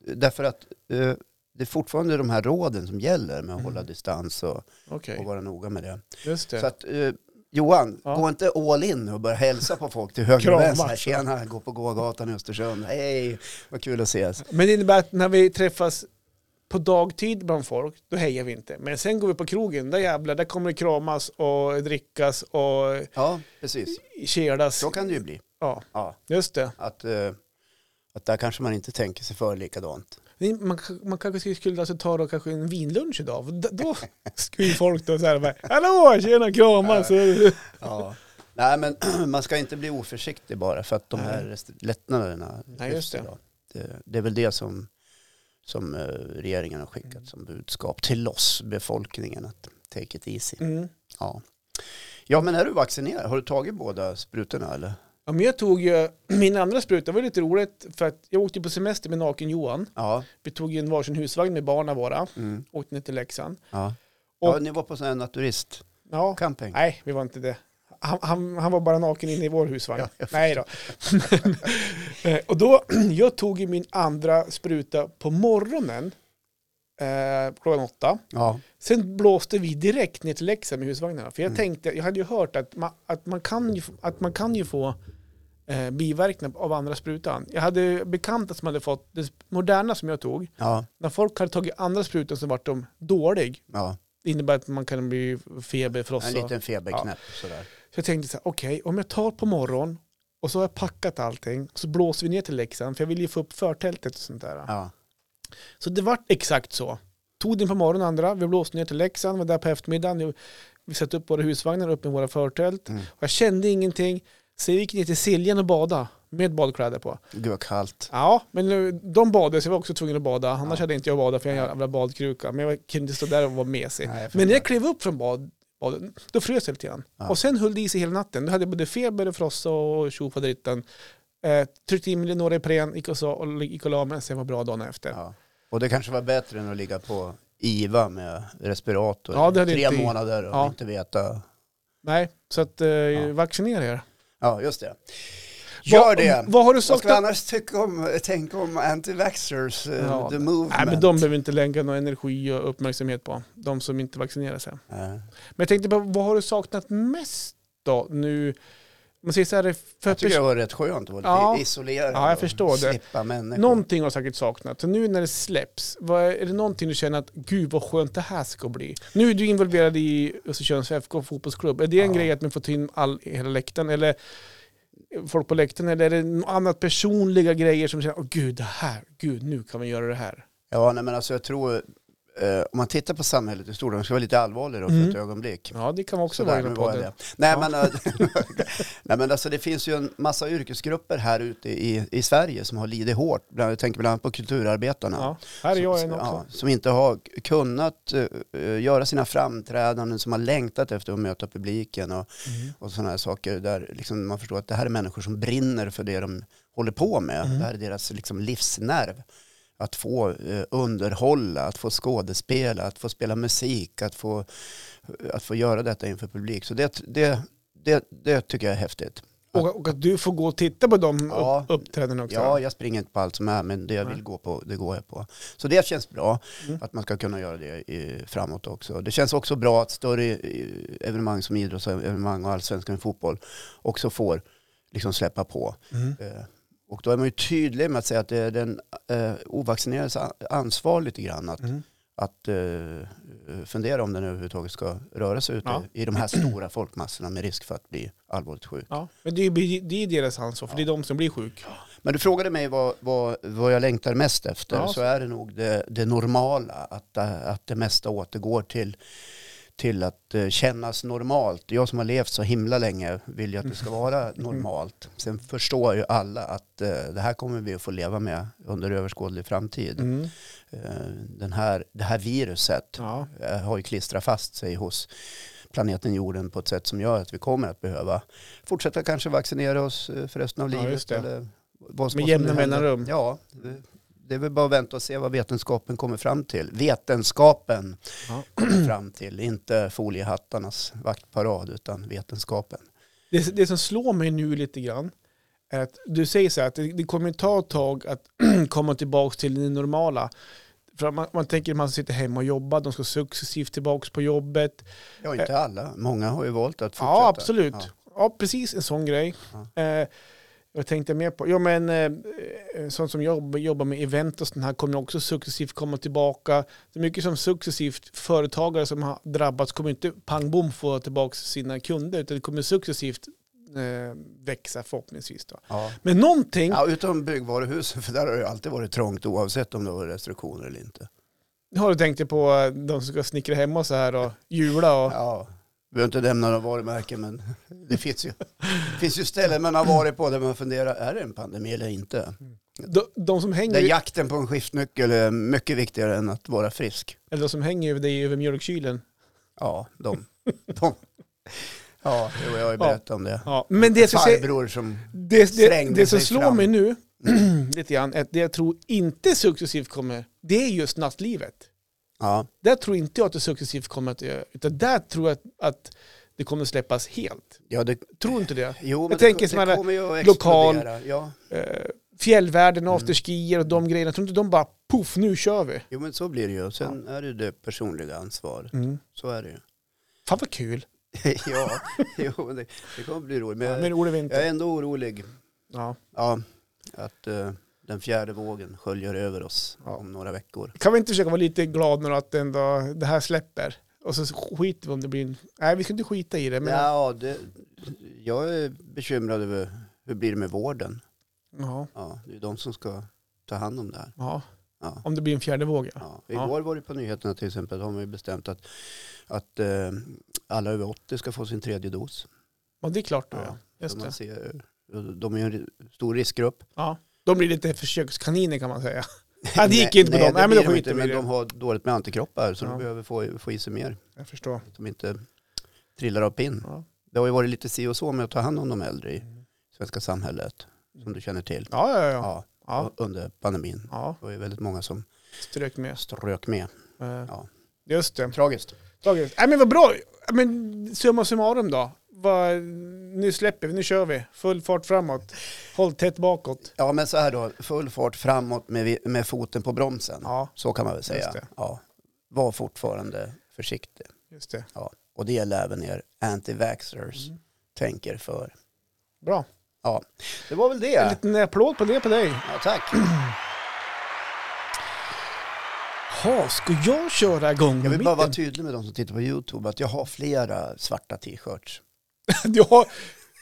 A: Därför att eh, det är fortfarande de här råden som gäller med att hålla distans och,
B: Okej,
A: och vara noga med det.
B: just Mm. det.
A: Så att, eh, Johan,
B: Ja.
A: gå inte all in och börja hälsa på folk till höger och
B: Kramas.
A: vänster. Tjena, gå på gågatan i Östersund. Hej, vad kul att ses.
B: Men det innebär att när vi träffas på dagtid bland folk, då hejar vi inte. Men sen går vi på krogen, där jävlar, där kommer det kramas och drickas och
A: Ja, precis.
B: kelas.
A: Så kan det ju bli.
B: Ja,
A: Ja,
B: just det.
A: att, eh, att där kanske man inte tänker sig för likadant.
B: Ni- Man, man kanske skulle alltså ta då kanske en vinlunch idag. för d- Då skulle ju folk då så här bara, hallå, tjena, kramas.
A: Ja. Nej, men man ska inte bli oförsiktig bara för att de här
B: Nej.
A: rest- lättnaderna
B: Nej, just det.
A: idag. Det, det är väl det som, som eh, regeringen har
B: Mm.
A: skickat som budskap till oss, befolkningen, att take it easy.
B: Mm.
A: Ja. ja, men är du vaccinerad? Har du tagit båda sprutorna eller?
B: Ja, men jag tog ju, min andra spruta var lite roligt för att jag åkte på semester med Naken-Johan.
A: Ja.
B: Vi tog ju en varsin husvagn med barnen våra,
A: Mm.
B: åkte ner till Leksand.
A: ja.
B: Och-
A: ja ni var på sån här naturistcamping.
B: Ja, Nej, vi var inte det. Han, han, han var bara naken inne i vår husvagn.
A: Ja, jag
B: Nej då. Eh, och då, jag tog ju min andra spruta på morgonen, eh, klockan åtta.
A: Ja.
B: Sen blåste vi direkt ner till Leksand med husvagnarna. För jag
A: Mm.
B: tänkte, jag hade ju hört att man, att man, kan, ju, få- att man kan ju få eh, biverkningar av andra sprutan. Jag hade bekanta som hade fått, det moderna som jag tog,
A: Ja.
B: när folk hade tagit andra sprutan så vart de dålig.
A: ja.
B: Det innebär att man kan bli feber, frossa.
A: En liten feberknäpp sådär.
B: Så jag tänkte så här, okej, om jag tar på morgon och så har jag packat allting, så blåser vi ner till Leksand, för jag vill ju få upp förtältet och sånt där.
A: Ja.
B: Så det vart exakt så. Tog den på morgonen andra, vi blåste ner till Leksand, var där på eftermiddagen, och vi satte upp våra husvagnar upp med våra förtält.
A: Mm.
B: Och jag kände ingenting, så jag gick ner till Siljan och bada med badkläder på.
A: Gud vad kallt.
B: Ja, men nu- de badade så jag var också tvungen att bada, annars
A: Ja.
B: hade inte jag badat för jag har en jävla badkruka. Men jag kunde inte stå där och vara mesig.
A: Nej, jag
B: Men när jag
A: fattar.
B: klev upp från bad, badet, då frös jag lite grann.
A: Ja.
B: Och sen höll det i sig hela natten. Då hade jag både feber och frossa och tjofaderittan. Eh, tryckte in mig i några Ipren, gick och, så, och gick och la mig, sen var bra dagen efter.
A: Ja. Och det kanske var bättre än att ligga på IVA med respirator
B: Ja,
A: ja,
B: det
A: det
B: hade
A: tre
B: inte-
A: månader och
B: Ja.
A: inte veta.
B: Nej, så att eh,
A: Ja.
B: vaccinera er.
A: Ja, just det. Gör
B: vad,
A: det!
B: Vad har du
A: Vad
B: sagt?
A: ska vi annars tycka om, tänka om anti-vaxxers, eh,
B: Ja,
A: the movement?
B: Nej, men de behöver vi inte lägga någon energi och uppmärksamhet på. De som inte vaccinerar sig.
A: Eh,
B: Men jag tänkte på, vad har du saknat mest då? Nu, man säger så här, för
A: Jag tycker det
B: pers-
A: var rätt skönt att vara
B: Ja.
A: lite isolerad
B: Ja, jag
A: och
B: förstår det.
A: slippa människor.
B: någonting har du säkert saknat. Så nu när det släpps, vad är, är det någonting du känner att gud vad skönt det här ska bli? Nu är du involverad i Östersunds FK fotbollsklubb. Är det en
A: Ja.
B: grej att man får ta in all, hela läktaren eller folk på läktaren? Eller är det något annat personliga grejer som känner, åh gud det här, gud nu kan vi göra det här.
A: Ja, nej, men alltså jag tror eh, om man tittar på samhället i stort, om vi ska vara lite allvarliga då för
B: Mm.
A: ett ögonblick.
B: Ja, det kan man också
A: Sådär,
B: vara
A: nu
B: i
A: var jag
B: podden.
A: det. Nej,
B: Ja.
A: men, eh, nej men alltså det finns ju en massa yrkesgrupper här ute i, i Sverige som har lidit hårt. Bland- Jag tänker bland annat på kulturarbetarna.
B: Ja, här är
A: Som-
B: jag
A: som-
B: en också.
A: ja, som inte har k- kunnat eh, eh, göra sina framträdanden, som har längtat efter att möta publiken och,
B: Mm.
A: och sådana här saker där liksom man förstår att det här är människor som brinner för det de håller på med.
B: Mm.
A: Det här är deras liksom, livsnerv. Att få eh, underhålla, att få skådespela, att få spela musik, att få, att få göra detta inför publik. Så det, det, det, det tycker jag är häftigt.
B: Och, och att du får gå och titta på de
A: Ja.
B: upp, uppträdena också.
A: Ja, jag springer inte på allt som är, men det jag
B: Nej.
A: vill gå på, det går jag på. Så det känns bra,
B: Mm.
A: att man ska kunna göra det i, framåt också. Det känns också bra att större eh, evenemang som idrottsevenemang och allsvenskan i fotboll också får liksom släppa på.
B: Mm.
A: Eh, Och då är man ju tydlig med att säga att det är den eh, ovaccinerades a- ansvar lite grann att,
B: Mm.
A: att eh, fundera om den överhuvudtaget ska röra sig ute
B: Ja.
A: i de här stora folkmassorna med risk för att bli allvarligt sjuk.
B: Ja, men det är ju det är deras ansvar, för det är de som blir sjuka.
A: Men du frågade mig vad, vad, vad jag längtar mest efter.
B: Ja.
A: Så är det nog det, det normala. Att, eh, att det mesta återgår till, till att eh, kännas normalt. Jag som har levt så himla länge vill ju att det ska vara
B: Mm.
A: normalt. Sen förstår ju alla att eh, det här kommer vi att få leva med under överskådlig framtid.
B: Mm.
A: Eh, Den här, det här viruset
B: Ja.
A: eh, har ju klistrat fast sig hos planeten jorden på ett sätt som gör att vi kommer att behöva fortsätta kanske vaccinera oss eh, för resten av
B: Ja, just
A: livet.
B: det.
A: Eller vad som
B: Med
A: vad som nu
B: jämna
A: händer.
B: mellanrum.
A: Ja, det- det är väl bara att vänta och se vad vetenskapen kommer fram till. Vetenskapen
B: Ja.
A: kommer fram till, inte foliehattarnas vaktparad utan vetenskapen.
B: Det, det som slår mig nu lite grann är att du säger så här att det, det kommer ta ett tag att komma tillbaka till det normala. För att man, man tänker att man sitter hemma och jobbar, de ska successivt tillbaka på jobbet.
A: Ja, inte alla. Många har ju valt att fortsätta.
B: Eh. Ja, absolut.
A: Ja.
B: Ja. precis en sån grej.
A: Ja.
B: Eh, vad tänkte jag mer på? Ja, men eh, sånt som jag jobbar med event och sånt här kommer också successivt komma tillbaka. Det är mycket som successivt företagare som har drabbats kommer inte pang bom få tillbaka sina kunder utan det kommer successivt eh, växa förhoppningsvis. Då.
A: Ja.
B: Men någonting,
A: Ja, utom byggvaruhusen, för där har det ju alltid varit trångt oavsett om det var restriktioner eller inte.
B: har du tänkt dig på eh, de som ska snickra hemma och så här och jula och...
A: Ja, vi behöver inte nämna några varumärken men det finns ju, det finns ju ställen man har varit på där man funderar, är det en pandemi eller inte?
B: De, de som hänger,
A: Där jakten på en skiftnyckel är mycket viktigare än att vara frisk.
B: eller de som hänger över dig över mjölkkylen.
A: Ja, de. de. Ja, jo, jag har ju berättat om det.
B: Ja. Men det jag ska säga...
A: Farbror som,
B: Det, det,
A: Strängde
B: det som
A: sig
B: slår
A: fram.
B: mig nu, lite grann, är att det jag tror inte successivt kommer, det är just nattlivet.
A: ja,
B: Där tror inte jag att det successivt kommer att göra, utan där tror jag att, att det kommer släppas helt.
A: ja det,
B: Tror inte det?
A: jo, men
B: tänker
A: det,
B: såna
A: det
B: här
A: kommer ju att
B: lokal-
A: explodera. Ja,
B: Eh, fjällvärlden,
A: Mm.
B: afterskier och de grejerna, tror inte de bara poff, nu kör vi.
A: jo, men så blir det ju. Sen är det ju det personliga ansvaret. Så är det ju.
B: Fan vad kul.
A: ja, jo, det, det kommer bli roligt. Men
B: Ja,
A: jag,
B: men Olle Winter.
A: jag är ändå orolig.
B: Ja.
A: Ja, att eh, den fjärde vågen sköljer över oss
B: Ja.
A: om några veckor.
B: Kan vi inte försöka vara lite glada nu att ändå det här släpper? Och så skiter vi om det blir en... Nej, vi ska inte skita i det. Men...
A: Ja, det, jag är bekymrad över hur blir det med vården.
B: Ja.
A: Ja, det är de som ska ta hand om det här.
B: Ja.
A: Ja.
B: Om det blir en fjärde våg, ja.
A: Ja. Igår var det på nyheterna till exempel, de har ju bestämt att, att eh, alla över 80 ska få sin tredje dos.
B: Ja, det är klart då,
A: Ja,
B: ja.
A: Så
B: Just
A: man
B: det.
A: ser, de är ju en ri- stor riskgrupp.
B: Ja, de blir lite försökskaniner kan man säga. Ja, det gick
A: Nej,
B: inte på
A: nej,
B: dem.
A: det
B: Nej, men
A: blir
B: då
A: de
B: skiter
A: inte,
B: vi i
A: men
B: det.
A: de har dåligt med antikroppar så
B: Ja.
A: de behöver få, få i sig mer.
B: Jag förstår.
A: att de inte trillar av pinn.
B: Ja.
A: Det har ju varit lite si och så med att ta hand om de äldre i svenska samhället, som du känner till.
B: Ja, ja, ja.
A: Ja,
B: ja.
A: under pandemin.
B: ja.
A: Det var ju väldigt många som
B: strök med.
A: strök med.
B: Eh,
A: Ja.
B: Just det.
A: Tragiskt.
B: Tragiskt. Nej, men vad bra. Ja, Men summa summarum då. Vad, nu släpper vi, nu kör vi. Full fart framåt. Håll tätt bakåt.
A: Ja, men så här då, full fart framåt med, vi- med foten på bromsen.
B: Ja,
A: Så kan man väl
B: Just
A: säga.
B: det.
A: Ja. Var fortfarande försiktig.
B: just det.
A: Ja. Och det gäller även er anti-vaxxers.
B: Mm.
A: Tänker för.
B: Bra.
A: Det var väl
B: En
A: det.
B: liten applåd på det på dig.
A: Ja, tack.
B: Ha, ska jag köra igång?
A: Jag vill
B: med
A: bara
B: mitt-
A: vara tydlig med de som tittar på YouTube att jag har flera svarta t-shirts.
B: du, har,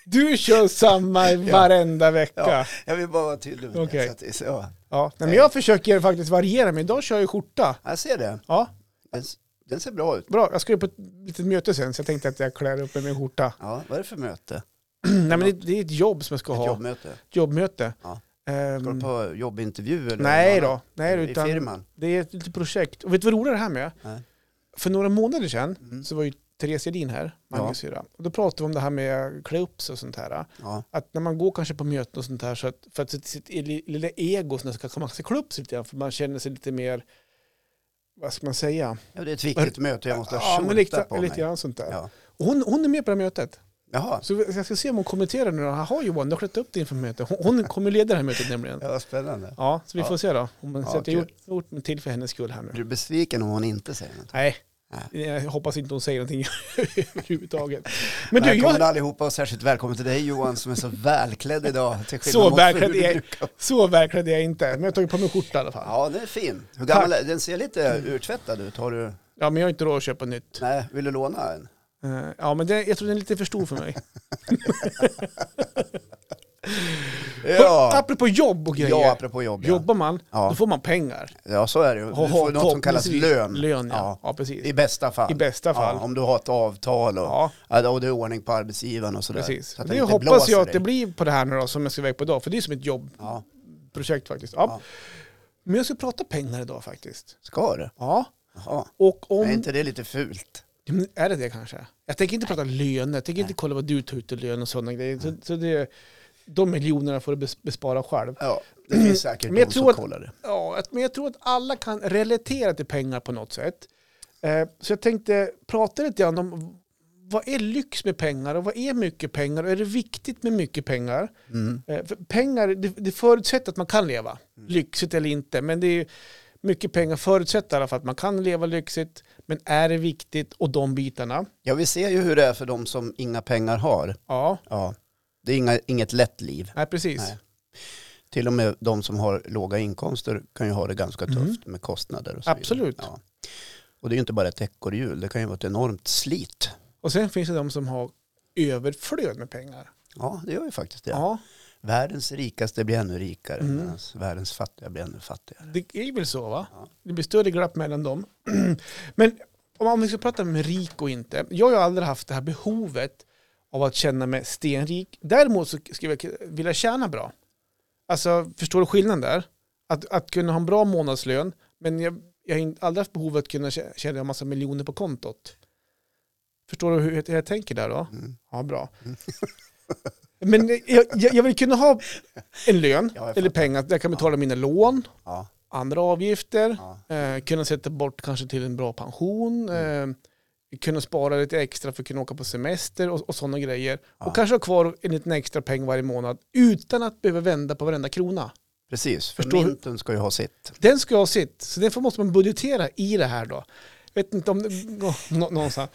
B: du kör samma varenda vecka.
A: Ja, jag vill bara vara tydlig med
B: Okej.
A: det. Så att, det- så, ja.
B: Ja, nej, men jag försöker faktiskt variera, men idag kör jag skjorta.
A: Jag ser det.
B: Ja,
A: Den, s- den ser bra ut.
B: Bra, jag ska ju på ett litet möte sen så jag tänkte att jag klär upp mig med skjorta.
A: Ja, vad är det för möte?
B: Nej men det, det är ett jobb som jag ska
A: Ett
B: ha.
A: jobbmöte?
B: Jobbmöte.
A: Ja.
B: Ehm,
A: Går du på jobbintervju eller?
B: nej
A: något
B: då,
A: annat?
B: nej
A: I
B: utan
A: firman?
B: det är ett litet projekt. Och vet du vad roligt det här med?
A: Nej.
B: För några månader sedan
A: Mm.
B: så var ju Therese Edin här, Magnus syra. Och då pratade vi om det här med klä upp sig och sånt här.
A: Ja.
B: Att när man går kanske på möten och sånt här så att för att sitt, sitt li- lilla ego så ska man ska klä upp sig lite grann för man känner sig lite mer, vad ska man säga?
A: ja, det är ett viktigt möte. Jag måste ha
B: Ja, men
A: skjorta
B: lite,
A: på
B: lite
A: mig.
B: grann sånt där.
A: Ja.
B: Och Hon, hon är med på det här mötet.
A: Jaha,
B: Så jag ska se om hon kommenterar nu. då. Jaha Johan, du har klätt upp dig inför mötet. Hon, hon kommer leda det här mötet nämligen.
A: ja, vad spännande.
B: Ja, så vi får
A: Ja.
B: se då. Om man
A: Ja,
B: säger att jag
A: kul.
B: gjort, gjort mig till för hennes skull här nu.
A: Blir du besviken om hon inte säger något?
B: Nej,
A: Nej.
B: jag hoppas inte hon säger någonting överhuvudtaget. Men du,
A: välkommen
B: jag,
A: allihopa och särskilt välkommen till dig Johan som är så välklädd idag. Till skillnad
B: Så
A: mot hur
B: välklädd
A: du
B: är-
A: brukar vara.
B: så verkligen är jag inte. Men jag har tagit på mig skjorta i alla fall.
A: Ja, den är fin. Hur gammal är Den ser lite urtvättad ut. Har du...
B: Ja, men jag har inte råd att köpa nytt.
A: Nej, vill du låna en?
B: Eh, Ja, men det, jag tror den är lite för stor för mig. Och
A: Ja,
B: Apropå jobb och grejer.
A: ja apropå jobb. Ja.
B: Jobbar man,
A: Ja.
B: då får man pengar.
A: ja, så är det ju. Du får något som kallas
B: Förhoppningsvis.
A: lön.
B: Lön, ja.
A: Ja.
B: Ja, precis.
A: I bästa fall.
B: I bästa fall.
A: Ja, om du har ett avtal och,
B: Ja.
A: ja, och det är ordning på arbetsgivaren och sådär.
B: Precis.
A: Så att
B: det
A: inte
B: hoppas
A: blåser
B: jag att
A: dig.
B: det blir på det här nu då som jag ska iväg på idag. För det är som ett jobbprojekt
A: Ja,
B: faktiskt. Ja.
A: Ja.
B: Men jag ska prata pengar idag faktiskt.
A: ska det?
B: Ja.
A: Jaha.
B: Och om...
A: Är inte det lite fult?
B: Ja, men Är det det kanske? Jag tänker inte prata löner. Jag tänker inte kolla vad du tar ut i lön och sådana grejer. Så, så det, de miljonerna får du bes- bespara själv.
A: Ja, det finns säkert
B: Men jag
A: någon
B: tror
A: som
B: att-
A: kollar det.
B: Ja, att- men jag tror att alla kan relatera till pengar på något sätt. Eh, Så jag tänkte prata lite grann om vad är lyx med pengar och vad är mycket pengar och är det viktigt med mycket pengar?
A: Mm.
B: Eh, för Pengar, det, det förutsätter att man kan leva lyxigt eller inte, men det är ju mycket pengar förutsätter i alla fall att man kan leva lyxigt, men är det viktigt och de bitarna?
A: Ja, vi ser ju hur det är för de som inga pengar har.
B: Ja,
A: Ja, det är inga, inget lätt liv.
B: nej precis.
A: Nej. Till och med de som har låga inkomster kan ju ha det ganska tufft med kostnader och så vidare.
B: Mhm. Absolut.
A: Ja. Och det är ju inte bara ett ekorrhjul, det kan ju vara ett enormt slit.
B: Och sen finns det de som har överflöd med pengar.
A: Ja, det gör ju faktiskt det.
B: Ja,
A: Världens rikaste blir ännu rikare,
B: Mm.
A: medan världens fattiga blir ännu fattigare.
B: det är väl så va?
A: Ja.
B: Det blir större glapp mellan dem. Men om om vi ska prata om rik och inte. Jag har ju aldrig haft det här behovet av att känna mig stenrik. Däremot så skulle jag vilja tjäna bra. Alltså, förstår du skillnaden där? Att, att kunna ha en bra månadslön, men jag, jag har inte- aldrig haft behov av att kunna tjä- tjäna en massa miljoner på kontot. Förstår du hur jag, jag tänker där då?
A: Mm.
B: Ja, bra. Men jag, jag, jag vill kunna ha en lön
A: Ja, jag
B: eller pengar där jag kan betala mina lån,
A: Ja,
B: andra avgifter,
A: ja. Mm.
B: eh, kunna sätta bort kanske till en bra pension, eh, kunna spara lite extra för att kunna åka på semester och, och sådana grejer.
A: Ja.
B: Och kanske ha kvar en liten extra peng varje månad utan att behöva vända på varenda krona.
A: Precis, för
B: Förstår-
A: mynten ska ju ha sitt.
B: Den ska jag ha sitt, så därför måste man budgetera i det här då. Vet inte om det... Nå, någonstans.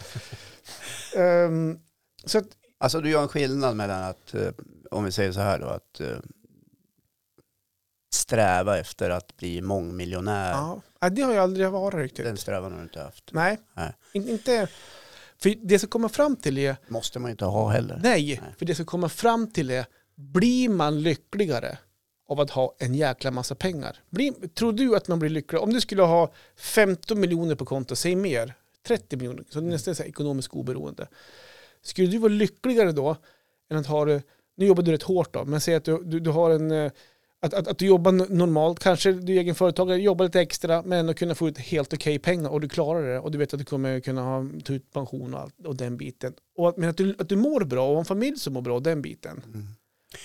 B: Ehm, så att
A: Alltså du gör en skillnad mellan att, eh, om vi säger så här då, att eh, sträva efter att bli mångmiljonär.
B: Ja, typ. ja, det har jag aldrig varit riktigt.
A: Den strävan har du inte haft.
B: Nej,
A: Nej.
B: In, inte... För det som kommer fram till är,
A: Måste man ju inte ha heller.
B: nej,
A: Nej.
B: för det som kommer fram till är, blir man lyckligare av att ha en jäkla massa pengar? Blir, tror du att man blir lyckligare? Om du skulle ha 15 miljoner på konto, säg mer, 30 miljoner, så det är nästan så här ekonomiskt oberoende. Skulle du vara lyckligare då än att ha det, nu jobbar du rätt hårt då, men säg att du, du, du har en, eh, att, att, att du jobbar n- normalt, kanske du är egen företagare, jobbar lite extra, men ändå kunna få ut helt okej pengar och du klarar det och du vet att du kommer kunna ha, ta ut pension och, allt, och den biten. Och att, men att du, att du mår bra och har en familj som mår bra och den biten.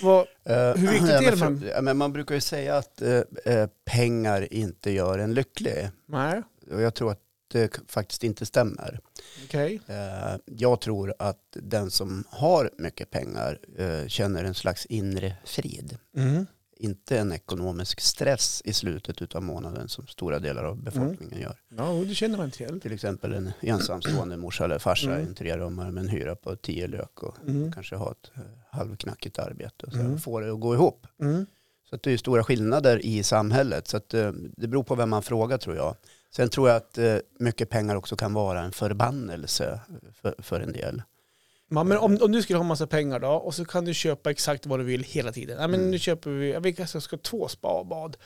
B: Vad,
A: Mm. Eh,
B: Hur viktigt
A: ja,
B: är det
A: men
B: man-
A: för- ja, men man brukar ju säga att eh, eh, pengar inte gör en lycklig.
B: nej,
A: Och jag tror att det k- faktiskt inte stämmer.
B: okej.
A: Eh, jag tror att den som har mycket pengar eh, känner en slags inre frid.
B: Mm.
A: Inte en ekonomisk stress i slutet av månaden som stora delar av befolkningen gör.
B: Ja, och det känner man till.
A: Till exempel en ensamstående morsa eller farsa
B: Mm.
A: i en trerummare med en hyra på tio lök och
B: Mm.
A: kanske ha ett eh, halvknackigt arbete. Och så
B: Mm.
A: Få det att gå ihop.
B: Mm.
A: Så att det är ju stora skillnader i samhället. Så att, eh, det beror på vem man frågar tror jag. Sen tror jag att eh, mycket pengar också kan vara en förbannelse eh, för, för en del.
B: Ja, men om, om du skulle ha massa pengar då och så kan du köpa exakt vad du vill hela tiden. Ja, men
A: Mm.
B: nu köper vi, ja, vi kanske ska ha två spabad.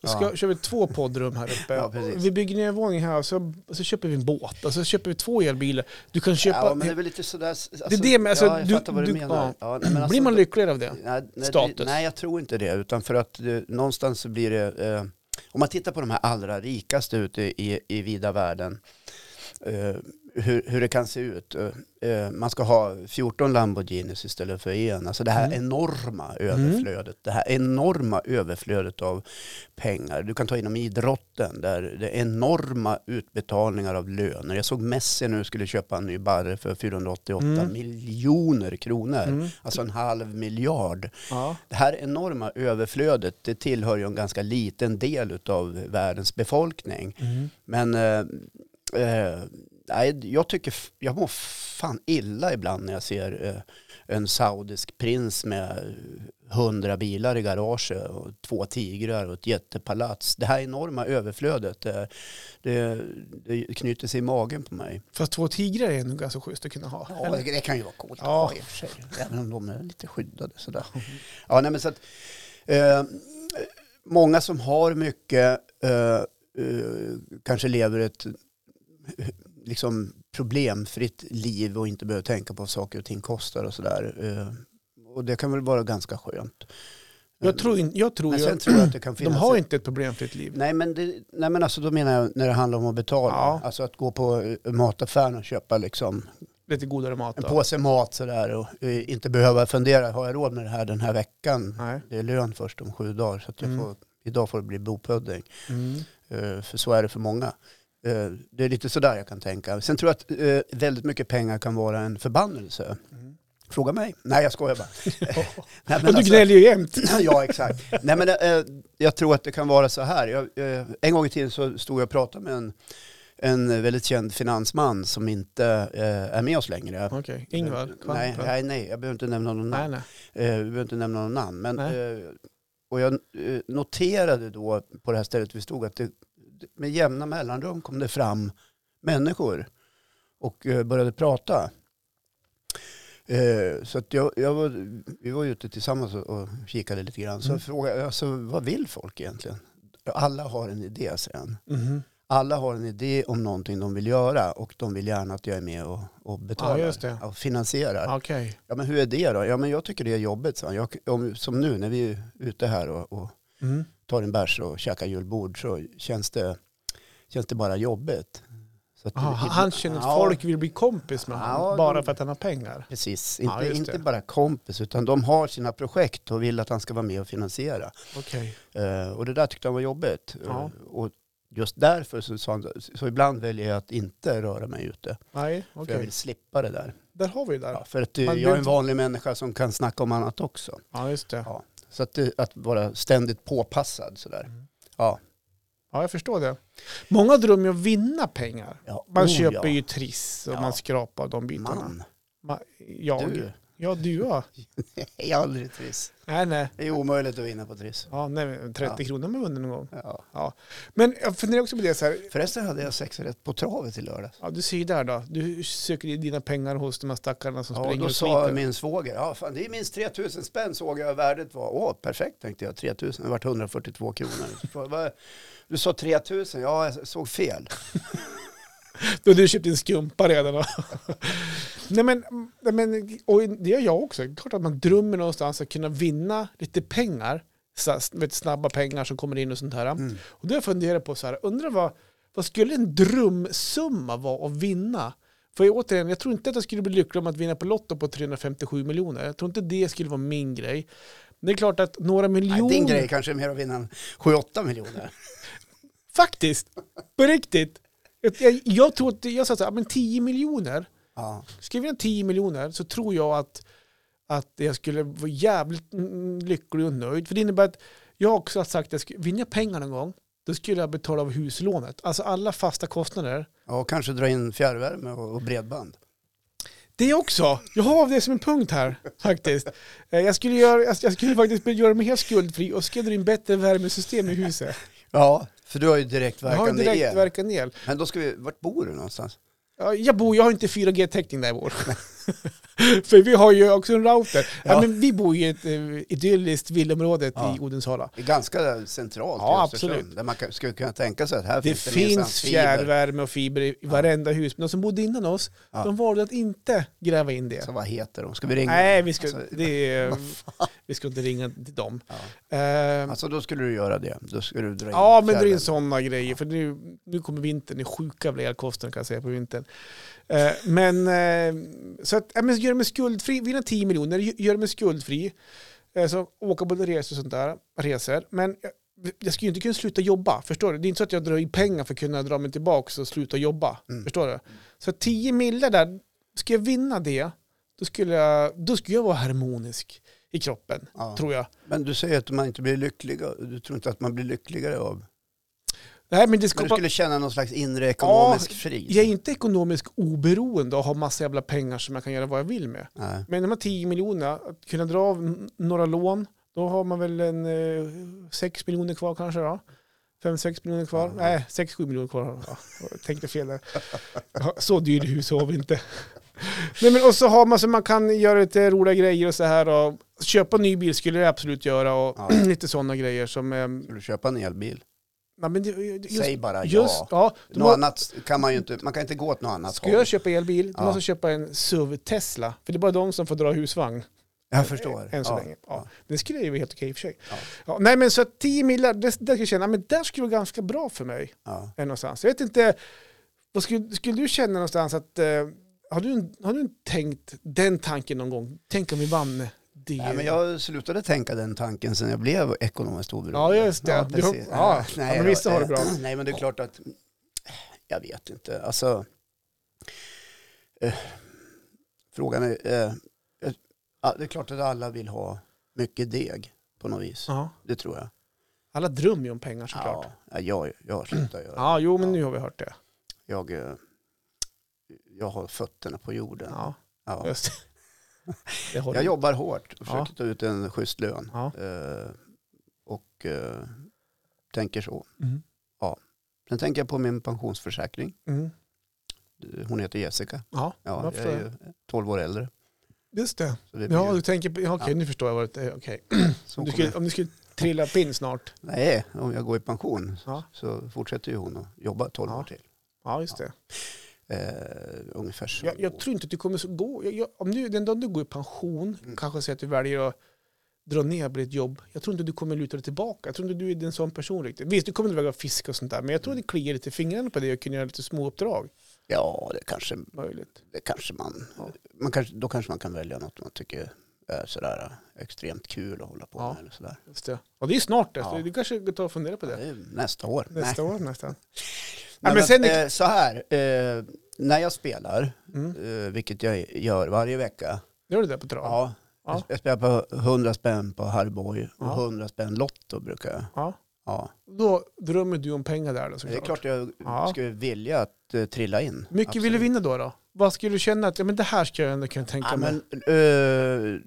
B: Då ska, kör vi två poddrum här uppe.
A: Ja, precis.
B: vi bygger ner en våning här så, så köper vi en båt och så köper vi två elbilar. Du kan köpa...
A: ja, men det är väl lite sådär. Alltså,
B: det är det med- alltså,
A: ja, jag
B: du-
A: fattar vad du,
B: du-
A: menar.
B: ja.
A: Ja, nej, men alltså,
B: Blir man lyckligare av det?
A: nej, nej,
B: Status.
A: Nej, jag tror inte det. Utan för att eh, någonstans så blir det, eh, om man tittar på de här allra rikaste ute i, i vida världen, eh, hur, hur det kan se ut. Eh, eh, man ska ha 14 Lamborghinis istället för en. Alltså det här
B: Mm.
A: enorma överflödet, det här enorma överflödet av pengar. Du kan ta inom idrotten där det är enorma utbetalningar av löner. Jag såg Messi nu skulle köpa en ny barre för 488
B: Mm.
A: miljoner kronor.
B: Mm.
A: Alltså en halv miljard.
B: Ja.
A: Det här enorma överflödet det tillhör ju en ganska liten del av världens befolkning.
B: Mm.
A: Men eh, eh, nej, jag tycker, f- jag mår fan illa ibland när jag ser eh, en saudisk prins med hundra bilar i garaget och två tigrar och ett jättepalats. Det här enorma överflödet, eh, det, det knyter sig i magen på mig.
B: Fast två tigrar är nog ganska schysst att kunna ha.
A: Ja,
B: Eller?
A: det, det kan ju vara coolt att
B: Ja.
A: ha i och för sig. Även om de är lite skyddade sådär. Ja, nej, men så att, eh, många som har mycket eh, eh, kanske lever ett eh, liksom, problemfritt liv och inte behöver tänka på vad saker och ting kostar och sådär. Eh, och det kan väl vara ganska skönt.
B: Jag tror, in, jag tror
A: men
B: ju,
A: sen tror jag att det kan
B: de
A: finnas...
B: har
A: ett-
B: inte ett problemfritt liv.
A: Nej men, det, nej men alltså då menar jag när det handlar om att betala.
B: Ja.
A: Alltså att gå på eh, mataffären och köpa liksom
B: Lite godare mat.
A: en
B: då.
A: påse mat sådär och eh, inte behöva fundera, har jag råd med det här den här veckan?
B: Nej.
A: Det är lön först om sju dagar så att jag
B: Mm.
A: får, idag får det bli bopudding.
B: Mm.
A: Eh, För så är det för många. Eh, Det är lite sådär jag kan tänka. Sen tror jag att eh, väldigt mycket pengar kan vara en förbannelse.
B: Mm.
A: Fråga mig. Nej jag skojar bara. Nej, alltså-
B: Men du gnäller ju jämt.
A: ja, exakt. Nej, men, eh, jag tror att det kan vara så här. Jag, eh, en gång i tiden så stod jag och pratade med en, en väldigt känd finansman som inte eh, är med oss längre.
B: Okej, Ingvar. Kvampen.
A: Nej, nej, nej, jag behöver inte nämna någon namn.
B: nej. nej.
A: Eh, vi behöver inte nämna någon namn. Men,
B: Nej.
A: eh, och jag eh, noterade då på det här stället vi stod att det, med jämna mellanrum kom det fram människor och eh, började prata. Eh, så att jag, jag var, vi var ute tillsammans och, och kikade lite grann. Så
B: Mm.
A: frågade jag, alltså, vad vill folk egentligen? Alla har en idé, säger han.
B: Mhm.
A: Alla har en idé om någonting de vill göra och de vill gärna att jag är med och, och betalar
B: just det.
A: och finansierar.
B: Okej.
A: Ja men hur är det då? Ja men jag tycker det är jobbigt. Så. Jag, om, som nu när vi är ute här och, och
B: Mm.
A: tar en bärs och käkar julbord så känns det, känns det bara jobbigt. Så att-
B: Aha, han Ah, han känner att
A: Ja,
B: folk vill bli kompis med
A: Ja,
B: honom
A: de-
B: bara för att han har pengar.
A: Precis, inte,
B: Ja, just det.
A: inte bara kompis utan de har sina projekt och vill att han ska vara med och finansiera.
B: Okej.
A: Eh, och det där tyckte han var jobbigt.
B: Ja.
A: Eh, och just därför så sa han, så ibland väljer jag att inte röra mig ute.
B: Nej,
A: För
B: okej.
A: jag vill slippa det där.
B: Där har vi det där.
A: Ja, för att eh,
B: Man blir
A: jag är en
B: inte-
A: vanlig människa som kan snacka om annat också.
B: Ja, just det.
A: Ja. Så att, det- att vara ständigt påpassad sådär.
B: Mm.
A: Ja.
B: Ja, jag förstår det. Många drömmer ju om att vinna pengar.
A: ja.
B: Man
A: Oh,
B: köper
A: ja.
B: ju Triss och
A: Ja.
B: man skrapar de bitarna.
A: Man,
B: Ma- jag?
A: du.
B: Ja, du ja.
A: Jag är aldrig triss.
B: Nej, nej.
A: Det är omöjligt att vinna på triss.
B: Ja, nej men 30
A: Ja.
B: kronor har man vunnit någon gång.
A: Ja.
B: Men jag funderar också på det så här.
A: Förresten hade jag sex rätt på travet i lördags.
B: Ja, du ser ju där då. Du söker i dina pengar hos de här stackarna som
A: Ja, och
B: springer
A: då
B: och
A: sa
B: sliter.
A: min svåger, ja fan det är minst 3000 spänn såg jag värdet var. Åh, perfekt tänkte jag, 3000, det vart 142 kronor. Så frågade jag, "Vad- Du sa 3000, ja jag såg fel.
B: Då du köpt din skumpa redan. då. nej, men, nej, men, och det gör jag också. Det är klart att man drömmer någonstans att kunna vinna lite pengar. Så, vet, snabba pengar som kommer in och sånt här.
A: Mm.
B: Och då har jag funderat på så här, undrar vad, vad skulle en drömsumma vara att vinna? För jag, återigen, jag tror inte att jag skulle bli lycklig om att vinna på Lotto på 357 miljoner. Jag tror inte det skulle vara min grej. Men det är klart att några
A: Nej,
B: miljoner...
A: din grej kanske är mer att vinna 7-8 miljoner.
B: Faktiskt, på riktigt. Jag- Jag, jag tror att, jag sa så här, men 10 miljoner.
A: Ja.
B: Skriver jag 10 miljoner så tror jag att, att jag skulle vara jävligt mm, lycklig och nöjd. För det innebär att jag också har sagt att jag skulle- vinner jag pengar någon gång, då skulle jag betala av huslånet. Alltså alla fasta kostnader.
A: ja, och kanske dra in fjärrvärme och, och bredband.
B: Det också! Jag har det som en punkt här faktiskt. Eh, Jag skulle, göra, jag jag skulle faktiskt göra mig helt skuldfri och skulle dra in bättre värmesystem i huset.
A: Ja, för du har ju
B: Jag har en
A: direktverkande el.
B: direktverkande el.
A: Men då ska vi, vart bor du någonstans?
B: Ja, Jag, bor, jag har inte 4G-täckning där jag bor. För vi har ju också en router. Ja.
A: Ja.
B: men vi bor ju i ett eh, idylliskt villaområde
A: Ja.
B: i Odensala.
A: Det är ganska centralt
B: Ja,
A: i Östersund.
B: absolut.
A: Där man kan, skulle kunna tänka sig att här
B: Det
A: finns det minsann
B: finns
A: fiber.
B: fjärrvärme och fiber i i varenda hus. Men de som bodde innan oss,
A: Ja.
B: de valde att inte gräva in det.
A: Så vad heter de? Ska vi ringa?
B: Nej, vi ska,
A: Alltså,
B: det är, vi ska inte ringa till dem.
A: Ja.
B: Eh,
A: Alltså då skulle du göra det. Då skulle du dra in
B: Ja, men det är ju
A: fjärden.
B: sådana grejer. För nu, nu kommer vintern, det är sjuka jävla elkostnader kan jag säga på vintern. Eh, men eh, så att, ja, men gör mig skuldfri, vinna 10 miljoner, gö- gör mig skuldfri. Eh, så åka på resor och sånt där, resor. Men jag, jag skulle ju inte kunna sluta jobba, förstår du? Det är inte så att jag drar in pengar för att kunna dra mig tillbaka och sluta jobba,
A: Mm.
B: förstår du? Så 10 miljoner där, ska jag vinna det, då skulle jag, då skulle jag vara harmonisk i kroppen,
A: Ja.
B: tror jag.
A: Men du säger att man inte blir lycklig. av- Du tror inte att man blir lyckligare av...
B: Nej, men det
A: Men du
B: skapar-
A: skulle känna någon slags inre ekonomisk frid.
B: Jag är inte ekonomiskt oberoende och har massa jävla pengar som jag kan göra vad jag vill med.
A: Nej.
B: Men de här 10 miljonerna, att kunna dra av n- några lån, då har man väl en eh, 6 miljoner kvar kanske då? 5-6 miljoner kvar?
A: Ja.
B: Nej, 6-7 miljoner kvar. Ja, jag tänkte fel där. Ja, Så dyrt hus har vi inte. Nej, men och så har man så man kan göra lite roliga grejer och så här. Och köpa en ny bil skulle jag absolut göra och
A: Ja.
B: lite sådana grejer som... Eh,
A: Skulle du köpa en elbil?
B: nej, men det- just,
A: Säg bara
B: just,
A: ja.
B: ja. de
A: Något
B: har-
A: annat kan man ju inte... Man kan inte gå åt något annat
B: Ska
A: håll.
B: jag köpa elbil, då
A: Ja.
B: måste jag köpa en SUV Tesla. För det är bara de som får dra husvagn eh,
A: Jag förstår.
B: än så
A: ja.
B: länge. Ja.
A: Ja.
B: Det skulle ju vara helt okej i och för sig. Ja.
A: Ja.
B: nej men så att 10 millar, det, det skulle jag känna, men där skulle det vara ganska bra för mig.
A: Ja.
B: eh, Någonstans. Jag vet inte, vad skulle, skulle du känna någonstans att, eh, har, du, en- har du tänkt den tanken någon gång? Tänk om vi vann det.
A: Nej, men jag slutade tänka den tanken sen jag blev ekonomiskt oberoende.
B: Ja, just det. Du-
A: precis.
B: ja, ja, men
A: då,
B: vissa har det bra.
A: eh, Nej, men det är klart att... Jag vet inte. Alltså... Eh, frågan är... Eh, eh, ja, det är klart att alla vill ha mycket deg på något vis.
B: Ja.
A: Det tror jag.
B: Alla drömmer ju om pengar såklart.
A: Ja,
B: Ja,
A: jag, jag slutar göra det.
B: jo men
A: Ja.
B: nu har vi hört det.
A: jag, eh, jag har fötterna på jorden.
B: Ja,
A: Ja.
B: just det. det. har
A: Jag
B: du.
A: jobbar hårt och
B: Ja.
A: försöker ta ut en schysst lön.
B: Ja.
A: Eh, och eh, tänker så.
B: Mm.
A: Sen tänker jag på min pensionsförsäkring. Eh,
B: Mm.
A: Hon heter Jessica.
B: Ja,
A: Ja,
B: jag
A: jag är
B: förstår.
A: ju 12 år äldre.
B: Just det.
A: Så det blir
B: Ja,
A: ju,
B: du tänker på, ja, okej
A: Ja.
B: nu förstår jag vad det är. Okej.
A: så
B: Om du,
A: kommer-
B: skulle, om du skulle trilla pinn snart.
A: Nej, om jag går i pension
B: Ja.
A: så fortsätter ju hon att jobba 12
B: Ja.
A: år till.
B: Ja, just det.
A: Eh, ungefär så.
B: Jag, jag tror inte att du kommer så gå. Jag, jag, om du, den dagen du går i pension,
A: Mm.
B: kanske säger att du väljer att dra ner på ditt jobb. Jag tror inte du kommer luta dig tillbaka. Jag tror inte du är en sån person riktigt. Visst, du kommer inte väga fiska och sånt där, men jag
A: Mm.
B: tror det kliar lite i fingrarna på dig och kunna göra lite små uppdrag.
A: Ja, det kanske,
B: Möjligt.
A: det kanske man...
B: Ja.
A: man kanske, då kanske man kan välja något man tycker är sådär eh, extremt kul att hålla på
B: Ja.
A: med. Eller sådär.
B: Just det. Ja, det är ju snart det.
A: Ja.
B: Du kanske kan ta och fundera på
A: Ja,
B: det.
A: det är nästa år. Nej.
B: Nästa år nästan.
A: Nej,
B: men
A: men
B: sen är-
A: eh, så här, eh, när jag spelar,
B: Mm.
A: eh, vilket jag gör varje vecka,
B: Gör du det på trav?
A: ja,
B: Ja.
A: jag- jag spelar på 100 spänn på Harboy och
B: Ja.
A: 100 spänn Lotto brukar jag.
B: Ja.
A: Ja.
B: Då drömmer du om pengar där då
A: Det är
B: såklart.
A: klart jag
B: Ja.
A: skulle vilja att eh, trilla in.
B: Mycket vill du vinna då? då? Vad skulle du känna att ja, men det här ska jag ändå kunna tänka
A: Ja,
B: mig?
A: men, eh,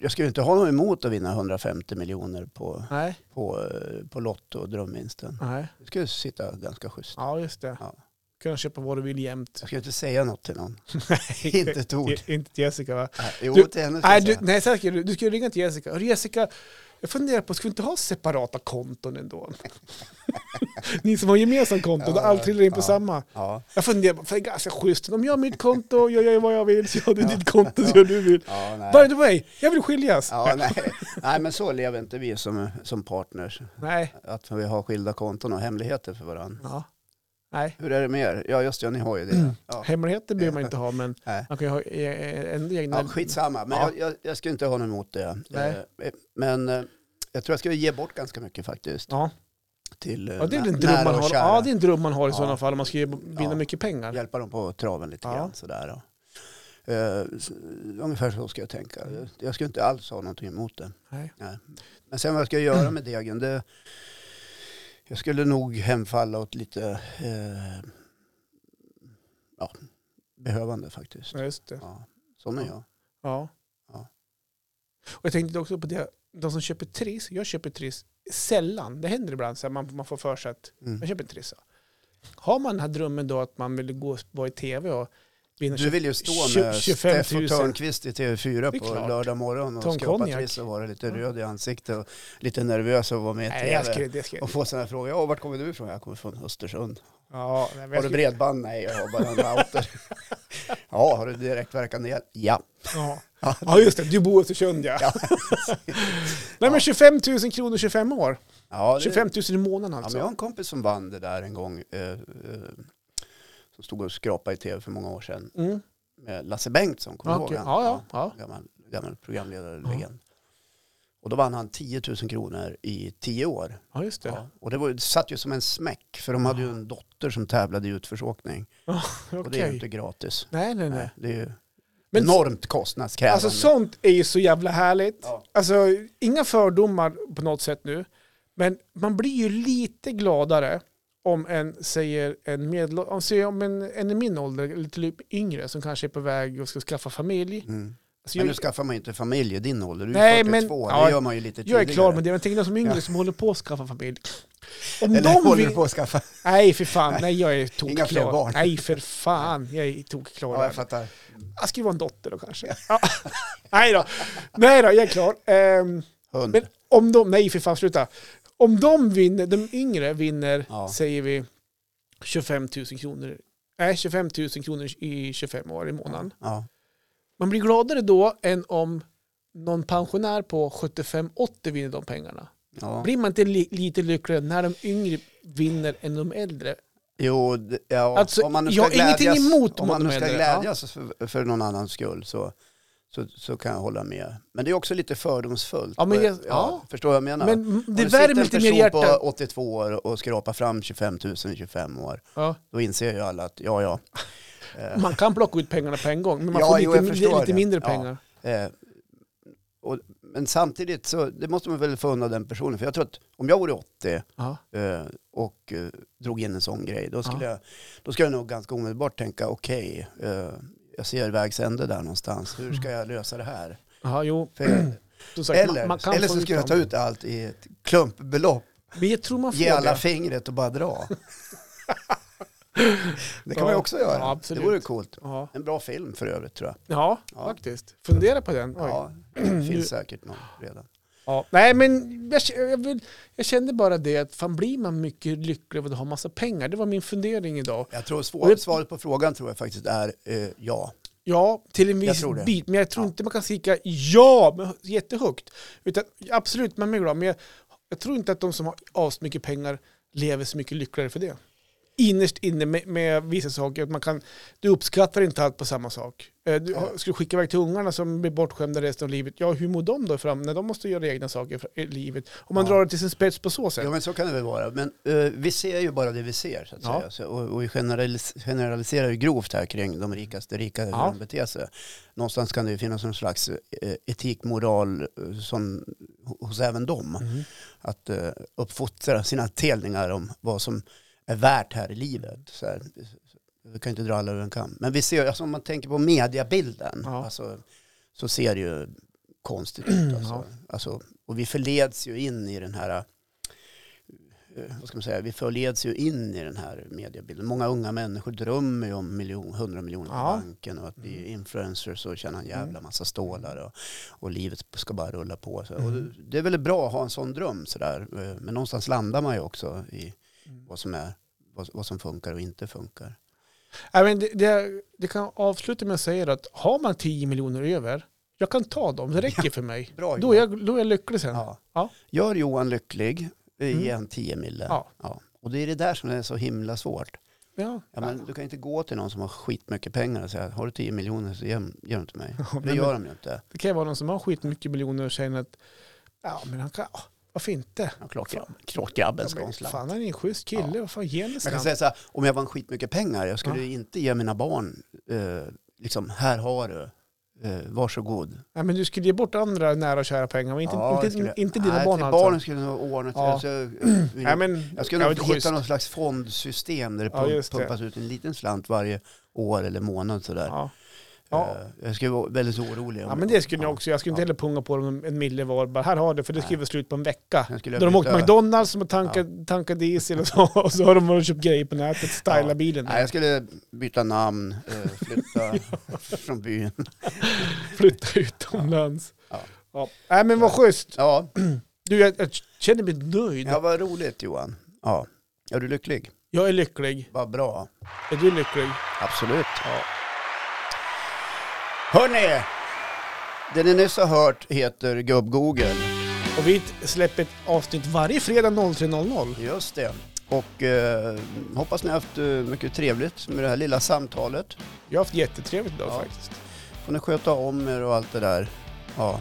A: jag skulle inte ha något emot att vinna 150 miljoner på,
B: Nej,
A: på, eh, på Lotto och drömvinsten.
B: nej.
A: Det skulle sitta ganska schysst.
B: Ja, just det.
A: Ja.
B: Kunna köpa vad du vill jämt.
A: Jag skulle inte säga något till någon. inte ett ord.
B: I- Inte till Jessica va?
A: Nej, Jo,
B: Du-
A: till henne ska
B: Nej,
A: jag
B: du,
A: säga.
B: nej så här ska du, du ska ju ringa till Jessica. Hörru Jessica, jag funderar på, ska vi inte ha separata konton ändå? Ni som har gemensamt konto, då
A: Ja,
B: allt trillar in på
A: ja.
B: samma.
A: Ja.
B: Jag funderar, på, för det är ganska schysst. Om jag har mitt konto, gör jag vad jag vill. Så gör du
A: Ja.
B: ditt konto, så gör du vill.
A: Ja, nej.
B: By the way, jag vill skiljas.
A: Ja, nej. nej, men så lever inte vi som, som partners.
B: Nej.
A: Att vi har skilda konton och hemligheter för varandra.
B: Ja. Nej.
A: Hur är det med er? Ja, just det, ni har ju
B: Mm.
A: det. Ja,
B: Hemligheter behöver man inte ha, men
A: nej.
B: man kan ju ha eh, en egna...
A: ja skitsamma. Men
B: Ja.
A: jag, jag, jag ska inte ha något emot det.
B: Nej.
A: Eh, Men eh, jag tror jag ska ge bort ganska mycket faktiskt.
B: Ja.
A: Till eh,
B: Ja, det är
A: nä-
B: en dröm man
A: nära och
B: har.
A: kära.
B: Ja, det är en dröm man har i
A: Ja.
B: sådana fall om man ska ju vinna
A: Ja.
B: mycket pengar.
A: Hjälpa dem på traven lite
B: Ja.
A: grann sådär. Då. Eh, s- ungefär så ska jag tänka.
B: Mm.
A: Jag ska inte alls ha någonting emot det.
B: Nej.
A: Men sen vad jag ska göra med degen, det, jag skulle nog hemfalla åt lite eh, ja, behövande faktiskt.
B: Ja, just det.
A: Ja, sån är jag.
B: Mm. Ja.
A: Ja.
B: Och jag tänkte också på det, de som köper Triss, jag köper Triss sällan, det händer ibland så här, man, man får för sig att
A: Mm.
B: jag köper en Triss. Har man den här drömmen då att man vill gå, vara i tv och vinner
A: Du vill ju stå
B: tjo-
A: med
B: 25 000.
A: Steffo Törnqvist i TV4
B: Det är
A: på
B: klart.
A: lördag morgon och
B: Ta en
A: skåpa
B: konjak.
A: triss och vara lite röd i ansiktet och lite nervös och vara med i
B: Nej, jag
A: TV.
B: skulle det skulle
A: Och få sådana här frågor. Ja, vart kommer du ifrån? Jag kommer från Östersund.
B: Ja, nej, men jag
A: Har du
B: skulle-
A: bredband? Nej, jag har bara en router. ja, har du direktverkande el? Ja.
B: Ja. ja, just det. Du bor i Östersund ja.
A: Ja.
B: Nej men 25 000 kronor 25 år.
A: ja det-
B: 25 000 i
A: Ja,
B: månaden alltså.
A: men jag har en kompis som vann det där en gång. Eh, eh, som stod och skrapade i tv för många år sedan.
B: Mm.
A: Med Lasse Bengtsson, kommer du
B: Okej.
A: ihåg han?
B: ja, ja, ja.
A: Gammal, gammal programledarlegend. Och då vann han 10 000 kronor i tio år.
B: ja, just det.
A: Ja. Och det, var, ju- det satt ju som en smäck, för de hade ju en dotter som tävlade i utförsåkning. Och det är ju
B: Okej.
A: inte gratis.
B: Nej, nej, nej.
A: Nej. Det är ju
B: Men-
A: enormt kostnadskrävande.
B: Alltså sånt är ju så jävla härligt.
A: Ja.
B: Alltså inga fördomar på något sätt nu. Men man blir ju lite gladare om en, säger en medel, om, säger om en, en i min ålder, eller typ yngre, som kanske är på väg och ska skaffa familj.
A: Mm.
B: Alltså,
A: Men nu
B: jag,
A: skaffar man ju inte familj i din ålder. Du är
B: Nej,
A: ju 42,
B: men- ja,
A: det gör man ju lite tidigare.
B: jag är klar med det, men tänk de som är yngre som håller på att skaffa familj. Om
A: Eller
B: de
A: håller
B: vill,
A: du på att skaffa?
B: Nej, för fan. Nej, jag är
A: Inga fler
B: tokklar.
A: barn.
B: Nej, för fan. Jag är tokklar.
A: Ja,
B: Ja,
A: jag fattar.
B: jag skulle vara en dotter då kanske. Ja. nej då. Nej då, jag är klar. Ehm,
A: Hund.
B: men om de, nej för fan, sluta. Om de vinner, de yngre vinner,
A: Ja.
B: säger vi 25 000 kronor. Nej, 25 000 kronor i 25 år i månaden.
A: Ja.
B: Man blir gladare då än om någon pensionär på 75-80 vinner de pengarna.
A: Ja.
B: Blir man inte li- lite lyckligare när de yngre vinner än de äldre?
A: Jo, d- ja,
B: Alltså,
A: om man nu
B: jag
A: ska
B: har
A: glädjas,
B: ingenting emot
A: om man nu
B: de
A: ska
B: äldre,
A: glädjas för, för någon annans skull så, så, så kan jag hålla med. Men det är också lite fördomsfullt.
B: Ja, men
A: Och-
B: jag- ja.
A: Förstår vad jag menar? Om
B: Men det
A: det sitter
B: värmer lite
A: en
B: mer i
A: person
B: hjärtat.
A: på 82 år och skrapar fram 25 000 i 25 år,
B: Ja.
A: då inser ju alla att ja, ja. Eh,
B: Man kan plocka ut pengarna på en gång, men man
A: Ja,
B: får
A: jo,
B: lite,
A: jag förstår
B: lite, lite
A: det.
B: mindre
A: Ja.
B: pengar.
A: Eh, och, men samtidigt så, det måste man väl få unna den personen. För jag tror att om jag vore 80
B: Ja.
A: eh, och eh, drog in en sån grej, då skulle,
B: Ja.
A: jag, då skulle jag nog ganska omedelbart tänka, okej, eh, jag ser vägs ände där någonstans, hur ska jag lösa det här?
B: Ja. jo.
A: För,
B: Som sagt,
A: eller eller
B: få
A: så skulle jag ta
B: dem.
A: ut allt i ett klumpbelopp,
B: Men jag tror man får
A: ge alla
B: det.
A: fingret och bara dra. det kan
B: Ja.
A: man ju också göra,
B: Ja,
A: det
B: absolut.
A: vore coolt.
B: Ja.
A: En bra film för övrigt tror jag.
B: Ja,
A: Ja.
B: faktiskt. Fundera på den. Oj. Ja.
A: Ja, det finns säkert någon redan.
B: Nej, men jag, k- jag, vill, jag kände bara det att fan blir man mycket lycklig av att ha massa pengar? Det var min fundering idag.
A: Jag tror
B: Och
A: svår,
B: det-
A: svaret på frågan tror jag faktiskt är eh, ja.
B: Ja, till en
A: Jag
B: viss
A: tror det.
B: bit. Men jag tror
A: Ja.
B: inte man kan skrika ja men jättehögt. Utan, absolut, man är glad. Men jag, jag tror inte att de som har asmycket pengar lever så mycket lyckligare för det. Innerst inne med, med vissa saker. Att man kan, du uppskattar inte allt på samma sak. Eh, Du har- skulle skicka iväg till ungarna som blir bortskämda resten av livet. Ja, hur mår de då fram när de måste göra egna saker för- i livet? Om man
A: Ja.
B: drar det till sin spets på så sätt.
A: Ja men så kan det väl vara. Men eh, vi ser ju bara det vi ser så att
B: Ja.
A: säga. Så, och, och vi generalis- generaliserar ju grovt här kring de rikaste rika hur
B: Ja.
A: de beter sig. Någonstans kan det ju finnas någon slags eh, etik, moral eh, som, hos även dem.
B: Mhm.
A: Att eh, uppfostra sina telningar om vad som är värt här i livet. Så här. Vi kan inte dra alla över en kam. Men vi ser, alltså, om man tänker på mediabilden
B: Ja. Mm,
A: alltså, så ser det ju konstigt ut. Alltså. Alltså, och vi förleds ju in i den här eh, vad ska man säga, vi förleds ju in i den här mediebilden. Många unga människor drömmer ju om miljon, 100 miljoner på
B: Ja.
A: banken och att bli influencers och tjäna en jävla
B: Mm.
A: massa stålar och, och livet ska bara rulla på. Så.
B: Mm.
A: Och det- det är väl bra att ha en sån dröm sådär, eh, men någonstans landar man ju också i
B: Mm.
A: vad som, är, vad, vad som funkar och inte funkar.
B: Nej, men det, det, det kan avsluta med att säga att har man 10 miljoner över, jag kan ta dem, det räcker för mig.
A: Bra
B: Då är, jag, då är jag lycklig sen.
A: Ja.
B: Ja.
A: Gör Johan lycklig, eh,
B: Mm.
A: ge en 10 mille.
B: Ja.
A: Och det är det där som är så himla svårt.
B: Ja.
A: Ja, men du kan inte gå till någon som har skitmycket pengar och säga har du 10 miljoner så ge, ge dem till mig.
B: Ja,
A: Det
B: men-
A: gör de ju inte.
B: Det kan ju vara någon som har skitmycket miljoner och känner att ja, men han kan, ja, varför inte?
A: Ja, klart,
B: Fan.
A: klart grabben
B: Ja,
A: ska ha
B: men
A: en slant.
B: fan, han är en schysst kille.
A: Ja.
B: Vad fan, ge en
A: Man kan
B: slant.
A: säga så här, om jag vann skitmycket pengar, jag skulle
B: Ja.
A: inte ge mina barn, eh, liksom här har du, eh, varsågod.
B: Nej, men du skulle ge bort andra nära och kära pengar, men inte,
A: Ja, jag
B: inte,
A: skulle-
B: inte dina
A: nej,
B: barn
A: till
B: alltså.
A: barnen skulle jag nog ordna till.
B: Ja.
A: Alltså, jag,
B: Nej, men,
A: jag skulle nog
B: vet,
A: hitta
B: schysst.
A: någon slags fondsystem där det
B: Ja,
A: pump-
B: just det.
A: pumpas ut en liten slant varje år eller månad sådär.
B: Ja. Ja.
A: Eh, Jag skulle vara väldigt orolig. Om,
B: Ja men det skulle jag
A: ja.
B: också, jag skulle inte
A: Ja.
B: heller punga på dem en mille var, bara här har du, för det skriver slut på en vecka.
A: Sen skulle
B: Då
A: jag byta-
B: de åkt till McDonalds som har tankat, tankat diesel och så, och så har de varit och köpt grejer på nätet, stylat
A: Ja.
B: bilen.
A: Nej, jag skulle byta namn, eh, flytta från byn.
B: Flytta utomlands.
A: Ja.
B: Ja. Nej men vad schysst.
A: Ja,
B: Du jag, jag känner mig nöjd.
A: ja vad roligt Johan. Ja. Är du lycklig?
B: Jag är lycklig.
A: Vad bra.
B: Är du lycklig?
A: Absolut. Hörni! Det ni nyss har hört heter Gubb-Google.
B: Och vi t- släpper ett avsnitt varje fredag 03.00.
A: Just det. Och eh, hoppas ni har haft eh, mycket trevligt med det här lilla samtalet.
B: Jag har haft jättetrevligt idag
A: Ja.
B: faktiskt.
A: Får ni sköta om er och allt det där. Ja.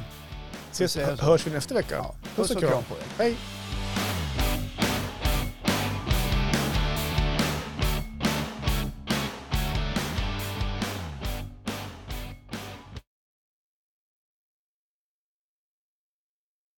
B: Ses,
A: Vi ses.
B: hörs vi nästa vecka.
A: ja.
B: Puss och kram.
A: på er.
B: Hej.